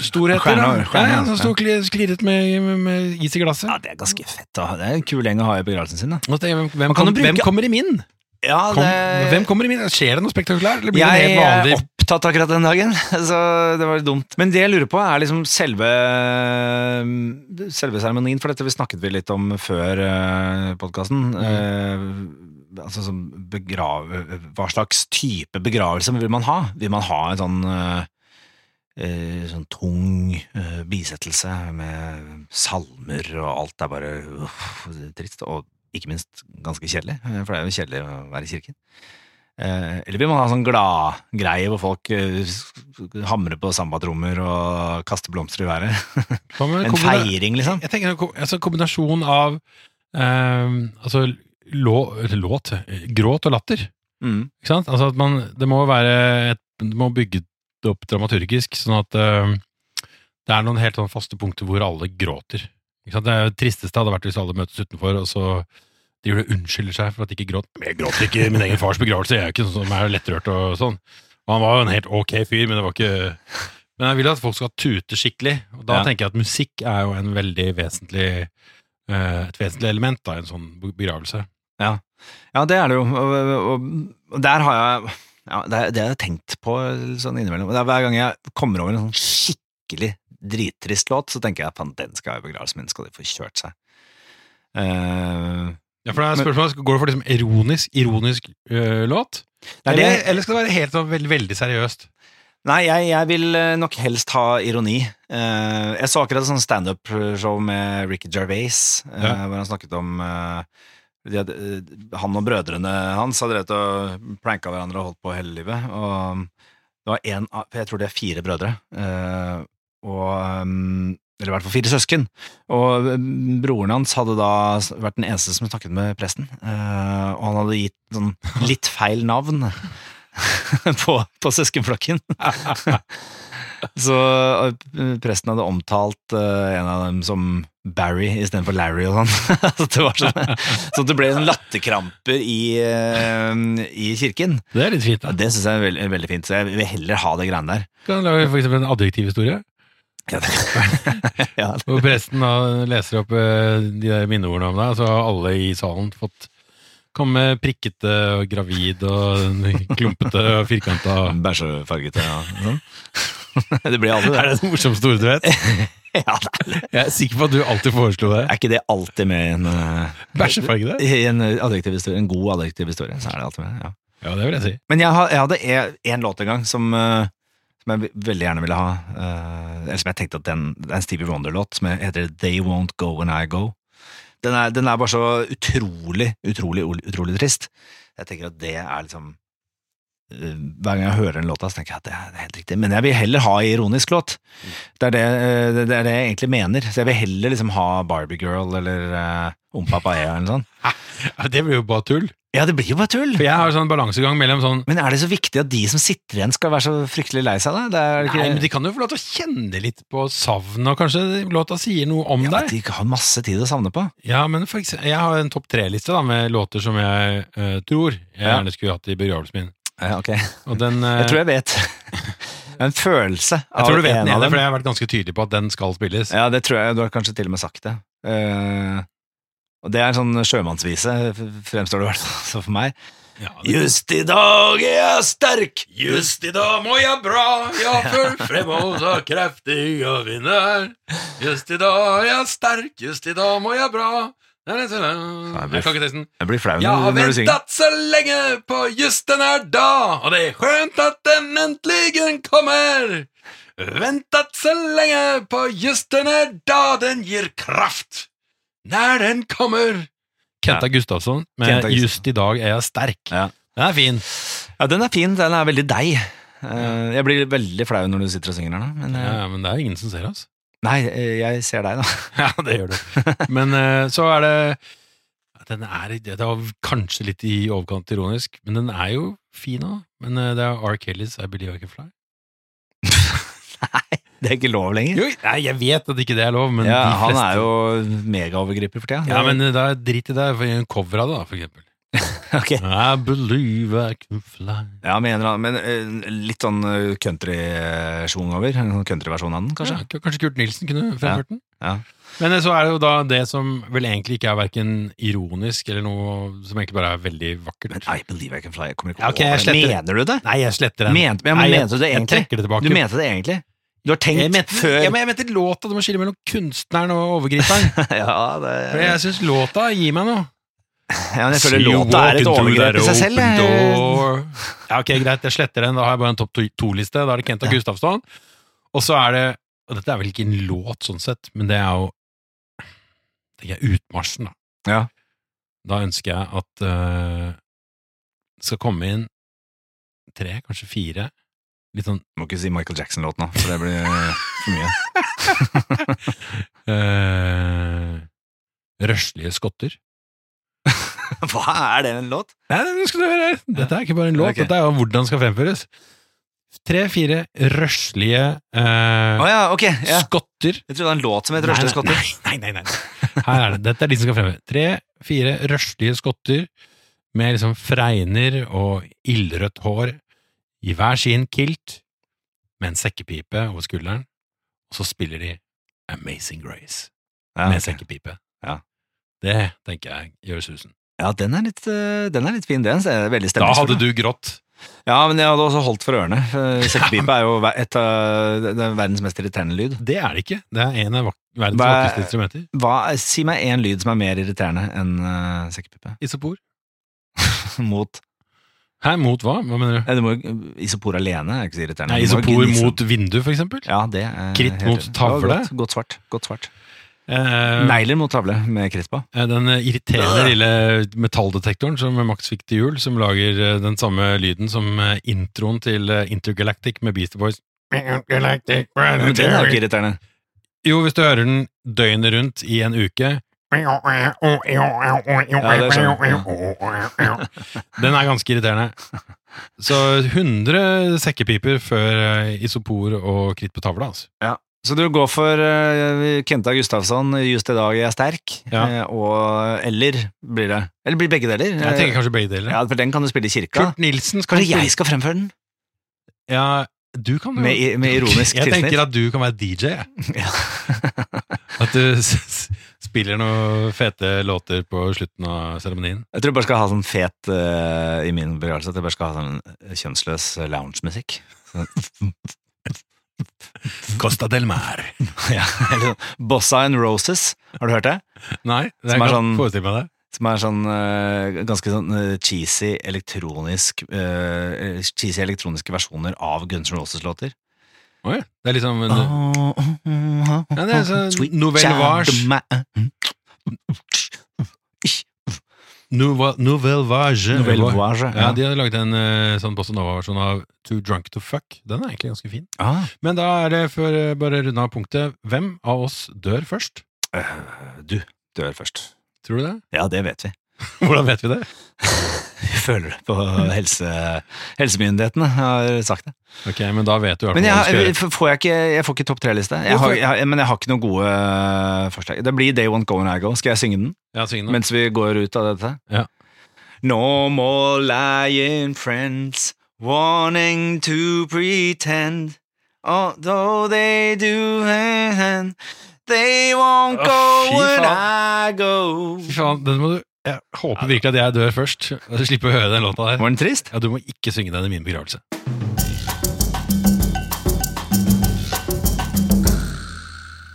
[SPEAKER 1] storheter.
[SPEAKER 2] Stjerner,
[SPEAKER 1] da.
[SPEAKER 2] stjerner,
[SPEAKER 1] ja, ja, som sto og kli- klirret med, med, med is i glasset.
[SPEAKER 2] Ja, det er ganske fett. da Det er en kul gjeng å ha i begravelsen sin. da
[SPEAKER 1] Nå tenker jeg, Hvem, hvem,
[SPEAKER 2] Man kan
[SPEAKER 1] kom,
[SPEAKER 2] jo bruke-
[SPEAKER 1] hvem kommer i min?
[SPEAKER 2] Ja,
[SPEAKER 1] Kom, hvem kommer i min? Skjer det noe spektakulært? Eller blir det en
[SPEAKER 2] Jeg
[SPEAKER 1] helt
[SPEAKER 2] er
[SPEAKER 1] vanlig
[SPEAKER 2] opptatt akkurat den dagen, *laughs* så det var litt dumt. Men det jeg lurer på, er liksom selve Selve seremonien, for dette vi snakket vi litt om før podkasten.
[SPEAKER 1] Mm.
[SPEAKER 2] altså som begrav... Hva slags type begravelse vil man ha? Vil man ha en sånn eh, eh, Sånn tung eh, bisettelse med salmer og alt er bare uff, trist, og ikke minst ganske kjedelig, eh, for det er jo kjedelig å være i kirken. Eh, eller vil man ha sånn gladgreie hvor folk eh, s- hamrer på sambatrommer og kaster blomster i været?
[SPEAKER 1] Hva med-
[SPEAKER 2] En
[SPEAKER 1] kommer det-
[SPEAKER 2] feiring, liksom?
[SPEAKER 1] Jeg tenker en ko- altså, en kombinasjon av ehm, altså, lå, eller låt, eh, gråt og latter.
[SPEAKER 2] Mm.
[SPEAKER 1] Ikke sant? Altså at man, det må være et, det må bygge det opp dramaturgisk, sånn at ehm, det er noen helt sånn faste punkter hvor alle gråter. Ikke sant? Det tristeste hadde vært hvis alle møtes utenfor, og så driver de og unnskylder seg for at de ikke gråt. Men Jeg gråter ikke i min egen fars begravelse, jeg er jo ikke sånn som er lettrørt og sånn. Og han var jo en helt ok fyr, men det var ikke Men jeg vil at folk skal tute skikkelig, og da
[SPEAKER 2] Ja.
[SPEAKER 1] tenker jeg at musikk er jo en veldig vesentlig eh, et vesentlig element da, i en sånn begravelse.
[SPEAKER 2] Ja, det er det jo. Og, og, og der har jeg ja, det, er- det har jeg tenkt på sånn innimellom. Det er hver gang jeg kommer over en sånn skikkelig drittrist låt, så tenker jeg faen, den skal jeg i begravelsen min, skal de få kjørt seg. Eh,
[SPEAKER 1] Ja, for det er spørsmålet, Går det for liksom ironisk, ironisk eh, låt?
[SPEAKER 2] det er det,
[SPEAKER 1] eller, eller skal det være helt sånn veldig, veldig seriøst?
[SPEAKER 2] nei, jeg, jeg vil eh, nok helst ha ironi. Eh, jeg så akkurat et sånt standup-show med Ricky Gervais, eh,
[SPEAKER 1] Ja.
[SPEAKER 2] hvor han snakket om eh, de hadde, eh, han og brødrene hans hadde rett og pranka hverandre og holdt på hele livet. Og det var en av, for jeg tror det er fire brødre, eh, og, eh, eller i hvert fall fire søsken. Og eh, broren hans hadde da vært den eneste som snakket med presten, eh, og han hadde gitt sånn litt feil navn *laughs* på, på søskenflokken. *laughs* Så eh, presten hadde omtalt eh, en av dem som Barry istedenfor Larry og sånn. *laughs* så, det var sånn så det ble sånn latterkramper i, eh, i kirken.
[SPEAKER 1] Det er litt fint.
[SPEAKER 2] Ja,
[SPEAKER 1] da.
[SPEAKER 2] det syns jeg er veld, veldig fint, så jeg vil heller ha det greiene der.
[SPEAKER 1] Kan du lage for eksempel en adjektivhistorie,
[SPEAKER 2] *laughs* Ja, ja,
[SPEAKER 1] hvor presten da leser opp eh, de der minneordene om deg, og så har alle i salen fått komme prikkete og gravid og *laughs* klumpete og firkanta.
[SPEAKER 2] Bæsjefargete ja. sånn. *laughs* Det blir alltid
[SPEAKER 1] Er
[SPEAKER 2] det.
[SPEAKER 1] det det morsomste ordet du vet?
[SPEAKER 2] Ja, det er-
[SPEAKER 1] Jeg er sikker på at du alltid foreslo det.
[SPEAKER 2] er ikke det alltid med i en, eh,
[SPEAKER 1] Bæsjefarge, det?
[SPEAKER 2] i en, adjektivhistorie, en god adjektivhistorie? Så er det alltid med, ja.
[SPEAKER 1] Ja, det vil jeg si.
[SPEAKER 2] Men jeg, har- jeg hadde én låt en gang som, eh, som jeg ve- veldig gjerne ville ha. eh, eller som jeg tenkte at den, det er en Stevie Wonder-låt som heter They Won't Go When I Go. Den er, den er bare så utrolig, utrolig, utrolig trist. Jeg tenker at det er liksom eh, hver gang jeg hører den låta, så tenker jeg at det er det er helt riktig. Men jeg vil heller ha ironisk låt. Det er det, eh, det, det er det jeg egentlig mener. Så jeg vil heller liksom ha Barbie Girl eller eh, Om Papaya eller noe sånt.
[SPEAKER 1] Ja, det blir jo bare tull.
[SPEAKER 2] Ja, det blir jo bare tull!
[SPEAKER 1] For jeg har sånn balansegang mellom sånn
[SPEAKER 2] Men er det så viktig at de som sitter igjen skal være så fryktelig lei seg, da? Det er ikke...
[SPEAKER 1] Nei, men de kan jo få lov til å kjenne litt på savnet, og kanskje låta sier noe om
[SPEAKER 2] ja,
[SPEAKER 1] deg.
[SPEAKER 2] at de har masse tid å savne på.
[SPEAKER 1] Ja, men for eksempel, jeg har en topp tre-liste da, med låter som jeg eh, tror jeg
[SPEAKER 2] Ja.
[SPEAKER 1] gjerne skulle hatt i begravelsen min.
[SPEAKER 2] Ja, ok. Jeg
[SPEAKER 1] Og den, eh,
[SPEAKER 2] tror jeg
[SPEAKER 1] *laughs*
[SPEAKER 2] vet. en følelse
[SPEAKER 1] jeg tror du vet den
[SPEAKER 2] en av
[SPEAKER 1] ene,
[SPEAKER 2] dem.
[SPEAKER 1] for jeg har vært ganske tydelig på at den skal spilles.
[SPEAKER 2] Ja, det tror jeg. Du har kanskje til og med sagt det. Eh, og det er en sånn sjømannsvise, f- fremstår det i hvert fall så for meg.
[SPEAKER 1] Ja, det-
[SPEAKER 2] Just i dag er jeg sterk!
[SPEAKER 1] Just i dag må jeg bra, jeg føler *laughs* fremover så kraftig og vinner. Just i dag er jeg sterk, just i dag må jeg bra. Jeg kan ikke sånn teksten.
[SPEAKER 2] Jeg blir flau
[SPEAKER 1] Jeg har
[SPEAKER 2] når, når du synger.
[SPEAKER 1] ventet så lenge på just den her dag, og det er skjønt at den endelig kommer. Ventet så lenge på just den her dag, den gir kraft når den kommer. Kenta Gustavsson med
[SPEAKER 2] Kenta Gustavsson.
[SPEAKER 1] Just i dag er jeg sterk.
[SPEAKER 2] Ja.
[SPEAKER 1] Den er fin.
[SPEAKER 2] Ja, den er fin. Den er veldig deg. Eh, jeg blir veldig flau når du sitter og synger den. Men, eh,
[SPEAKER 1] men det er ingen som ser oss.
[SPEAKER 2] *laughs* Nei, eh, jeg ser deg, da. *laughs*
[SPEAKER 1] Ja, det gjør du. *laughs* Men eh, så er det Den er i- det var kanskje litt i overkant ironisk, men den er jo fin òg. Men eh, det er R. Kellys I Believe I Can Fly.
[SPEAKER 2] Det er ikke lov lenger.
[SPEAKER 1] Jo, nei, jeg vet at ikke det er lov, men
[SPEAKER 2] ja,
[SPEAKER 1] de
[SPEAKER 2] han
[SPEAKER 1] fleste
[SPEAKER 2] er jo megaovergriper for tida.
[SPEAKER 1] Ja, men eh, da drit i det, for en cover av det, da, for eksempel.
[SPEAKER 2] *laughs* Ok.
[SPEAKER 1] I believe I can fly.
[SPEAKER 2] Ja, men, en eller annen- men eh, litt sånn eh, country-sjung over. En sånn countryversjon av den,
[SPEAKER 1] Kanskje,
[SPEAKER 2] kanskje?
[SPEAKER 1] ja, kanskje Kurt Nilsen kunne fremført den?
[SPEAKER 2] ja.
[SPEAKER 1] Men eh, så er det jo da det som vel egentlig ikke er verken ironisk eller noe som egentlig bare er veldig vakkert.
[SPEAKER 2] Men I Believe I Can Fly jeg kommer ikke
[SPEAKER 1] Ja, ok, jeg
[SPEAKER 2] over det.
[SPEAKER 1] sletter-
[SPEAKER 2] Mener du det?
[SPEAKER 1] Nei, jeg sletter den.
[SPEAKER 2] Mente- ja, men
[SPEAKER 1] Nei, jeg-
[SPEAKER 2] mente du det
[SPEAKER 1] jeg
[SPEAKER 2] egentlig?
[SPEAKER 1] trekker det tilbake.
[SPEAKER 2] Du mente det egentlig? Du har tenkt
[SPEAKER 1] jeg mente,
[SPEAKER 2] før
[SPEAKER 1] ja, men jeg mente låta, du må skille mellom kunstneren og overgriperen.
[SPEAKER 2] *laughs* Ja, det
[SPEAKER 1] For jeg syns låta gir meg noe.
[SPEAKER 2] ja, men Jeg føler låta er et overgrep i seg selv. jeg.
[SPEAKER 1] Ja, ok, greit, jeg sletter den. Da har jeg bare en topp to- to-liste. Da er det Kenta Gustavsson. Og så er det Og dette er vel ikke en låt, sånn sett, men det er jo tenker jeg utmarsjen, da.
[SPEAKER 2] Ja.
[SPEAKER 1] Da ønsker jeg at eh, det skal komme inn tre, kanskje fire. Litt sånn
[SPEAKER 2] Må ikke si Michael Jackson-låt nå, for det blir for
[SPEAKER 1] *laughs*
[SPEAKER 2] mye. *laughs*
[SPEAKER 1] eh, røslige skotter.
[SPEAKER 2] Hva er det en låt?
[SPEAKER 1] Nei, nei, nå skal du høre. Dette er ikke bare en låt,
[SPEAKER 2] Ok.
[SPEAKER 1] dette er jo hvordan den skal fremføres. Tre-fire røslige
[SPEAKER 2] Å
[SPEAKER 1] eh,
[SPEAKER 2] ja, ok. Ja.
[SPEAKER 1] skotter.
[SPEAKER 2] Jeg trodde det var en låt som het
[SPEAKER 1] Nei,
[SPEAKER 2] Røsle
[SPEAKER 1] nei,
[SPEAKER 2] Skotter.
[SPEAKER 1] Nei, nei, nei. nei. Her er det. Dette er de som skal fremme. Tre-fire røslige skotter med liksom fregner og ildrødt hår i hver sin kilt med en sekkepipe over skulderen, og så spiller de Amazing Grace
[SPEAKER 2] Ja,
[SPEAKER 1] med
[SPEAKER 2] ok.
[SPEAKER 1] sekkepipe.
[SPEAKER 2] Ja.
[SPEAKER 1] Det tenker jeg gjør susen.
[SPEAKER 2] ja den, er litt, eh, den er litt fin, den. så er det Veldig
[SPEAKER 1] Da hadde
[SPEAKER 2] stemningsfull.
[SPEAKER 1] du grått.
[SPEAKER 2] Ja, men jeg hadde også holdt for ørene. Eh, Sekkepipe er jo ver- et av det er verdens mest irriterende lyd.
[SPEAKER 1] Det er det ikke. Det er en av vak verdens
[SPEAKER 2] Hva-
[SPEAKER 1] vakreste instrumenter.
[SPEAKER 2] Hva, si meg én lyd som er mer irriterende enn eh, sekkepipe.
[SPEAKER 1] Isopor.
[SPEAKER 2] *laughs* Mot
[SPEAKER 1] Hæ, mot hva? Hva mener du?
[SPEAKER 2] Nei, det må, jo- eh, isopor alene er ikke så irriterende.
[SPEAKER 1] Nei,
[SPEAKER 2] Det må jo
[SPEAKER 1] isopor
[SPEAKER 2] gnisse.
[SPEAKER 1] mot vindu, for eksempel.
[SPEAKER 2] Ja, det er
[SPEAKER 1] Kritt
[SPEAKER 2] helt
[SPEAKER 1] mot
[SPEAKER 2] riktig.
[SPEAKER 1] tavle.
[SPEAKER 2] Ja, Godt, godt svart. Godt svart.
[SPEAKER 1] Eh,
[SPEAKER 2] Negler mot tavle med kritt på.
[SPEAKER 1] Eh, Den eh, irriterende lille metalldetektoren som Max fikk til jul, som lager eh, den samme lyden som eh, introen til eh, Intergalactic med Beastie Boys. Intergalactic
[SPEAKER 2] Ja, Men den er jo ikke
[SPEAKER 1] Planetary.
[SPEAKER 2] irriterende.
[SPEAKER 1] Jo, hvis du hører den døgnet rundt i en uke, den er ganske irriterende. Så 100 sekkepiper før eh, isopor og kritt på tavla, altså.
[SPEAKER 2] Så du går for eh, Kenta Gustavsson, 'Just i dag jeg er sterk',
[SPEAKER 1] Ja.
[SPEAKER 2] eh, og eller blir det Eller blir begge deler? Eh,
[SPEAKER 1] Jeg tenker kanskje begge
[SPEAKER 2] ja,
[SPEAKER 1] deler.
[SPEAKER 2] for den kan du spille i kirka.
[SPEAKER 1] Kurt Nilsen skal
[SPEAKER 2] Kanskje jeg skal fremføre den?
[SPEAKER 1] Ja, du kan jo
[SPEAKER 2] Med, i- med ironisk
[SPEAKER 1] Jeg tenker
[SPEAKER 2] tilsnitt.
[SPEAKER 1] at du kan være DJ, jeg.
[SPEAKER 2] Ja.
[SPEAKER 1] *laughs* At du s- s- spiller noen fete låter på slutten av seremonien.
[SPEAKER 2] Jeg tror jeg bare skal ha sånn fet eh, i min begravelse at jeg bare skal ha sånn kjønnsløs loungemusikk.
[SPEAKER 1] Costa del Mar.
[SPEAKER 2] ja, eller sånn Bossa and Roses, har du hørt det?
[SPEAKER 1] Nei, det
[SPEAKER 2] Som
[SPEAKER 1] jeg
[SPEAKER 2] er
[SPEAKER 1] kan
[SPEAKER 2] sånn-
[SPEAKER 1] forestille meg det.
[SPEAKER 2] Som er sånn eh, ganske sånn eh, cheesy elektronisk eh, Cheesy elektroniske versjoner av Guns N' Roses-låter.
[SPEAKER 1] Oi, det er liksom en,
[SPEAKER 2] Ja,
[SPEAKER 1] det er sånn Nouvelle Vache. Nouva, Nouvelle Vage.
[SPEAKER 2] Nouvelle Vache.
[SPEAKER 1] Ja, de hadde laget en eh, sånn Bossa Nova-versjon av Too Drunk To Fuck. Den er egentlig ganske fin.
[SPEAKER 2] Ah,
[SPEAKER 1] Men da er det for eh, bare å runde av punktet. Hvem av oss dør først?
[SPEAKER 2] øh, du dør først.
[SPEAKER 1] Tror du det? *laughs*
[SPEAKER 2] Ja, det vet vi.
[SPEAKER 1] Hvordan vet vi det?
[SPEAKER 2] Vi føler det på helse, helsemyndighetene, har sagt det.
[SPEAKER 1] Ok, men da vet du i hvert fall
[SPEAKER 2] Men jeg,
[SPEAKER 1] hva du skal
[SPEAKER 2] har-
[SPEAKER 1] gjøre.
[SPEAKER 2] får jeg, ikke, jeg får ikke topp tre-liste. Jeg har, jeg, har- men jeg har ikke noen gode eh, forslag. Det blir Day One Go and I Go. Skal jeg synge den?
[SPEAKER 1] Ja, syng nå.
[SPEAKER 2] Mens vi går ut av dette?
[SPEAKER 1] Ja.
[SPEAKER 2] No more lying friends wanting to pretend Although they do and they won't
[SPEAKER 1] Å,
[SPEAKER 2] go
[SPEAKER 1] fy
[SPEAKER 2] when I
[SPEAKER 1] Fy
[SPEAKER 2] go
[SPEAKER 1] faen, den må du Jeg håper virkelig at jeg dør først, *laughs* og du slipper å høre den låta der.
[SPEAKER 2] Var den trist?
[SPEAKER 1] Ja, du må ikke synge den i min begravelse.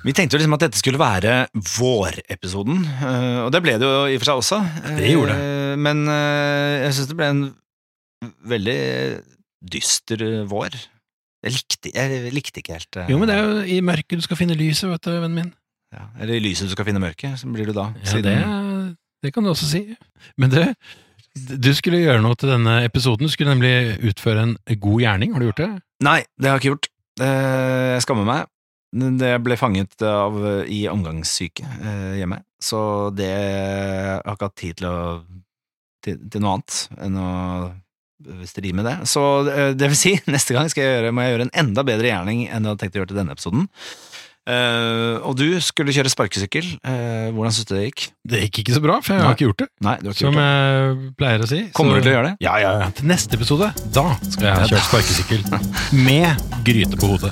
[SPEAKER 2] Vi tenkte jo liksom at dette skulle være vårepisoden, eh, og det ble det jo i og for seg også. Eh,
[SPEAKER 1] Det gjorde
[SPEAKER 2] Men eh, jeg syns det ble en veldig dyster vår. Jeg likte, jeg likte ikke helt eh,
[SPEAKER 1] Jo, men det er jo i mørket du skal finne lyset, vet du, vennen min.
[SPEAKER 2] Ja, eller i lyset du skal finne mørket, så blir du da.
[SPEAKER 1] Ja,
[SPEAKER 2] siden-
[SPEAKER 1] det, det kan du også si. Men du, du skulle gjøre noe til denne episoden. Du skulle nemlig utføre en god gjerning. Har du gjort det?
[SPEAKER 2] Nei, det har jeg ikke gjort. Eh, Jeg skammer meg. Det ble fanget av i omgangssyke eh, hjemme, så det jeg har ikke hatt tid til, å, til, til noe annet enn å stri med det. Så eh, det vil si, *laughs* neste gang skal jeg gjøre, må jeg gjøre en enda bedre gjerning enn jeg hadde tenkt å gjøre til denne episoden. Eh, og du skulle kjøre sparkesykkel. Eh, hvordan syns du det gikk?
[SPEAKER 1] Det gikk ikke så bra, for jeg
[SPEAKER 2] Nei.
[SPEAKER 1] har ikke gjort det,
[SPEAKER 2] Nei, du har ikke
[SPEAKER 1] som
[SPEAKER 2] gjort det.
[SPEAKER 1] jeg pleier å si.
[SPEAKER 2] Kommer du til å gjøre det? *laughs*
[SPEAKER 1] Ja, ja, ja. Til neste episode, da skal jeg ha kjørt sparkesykkel med gryte på hodet.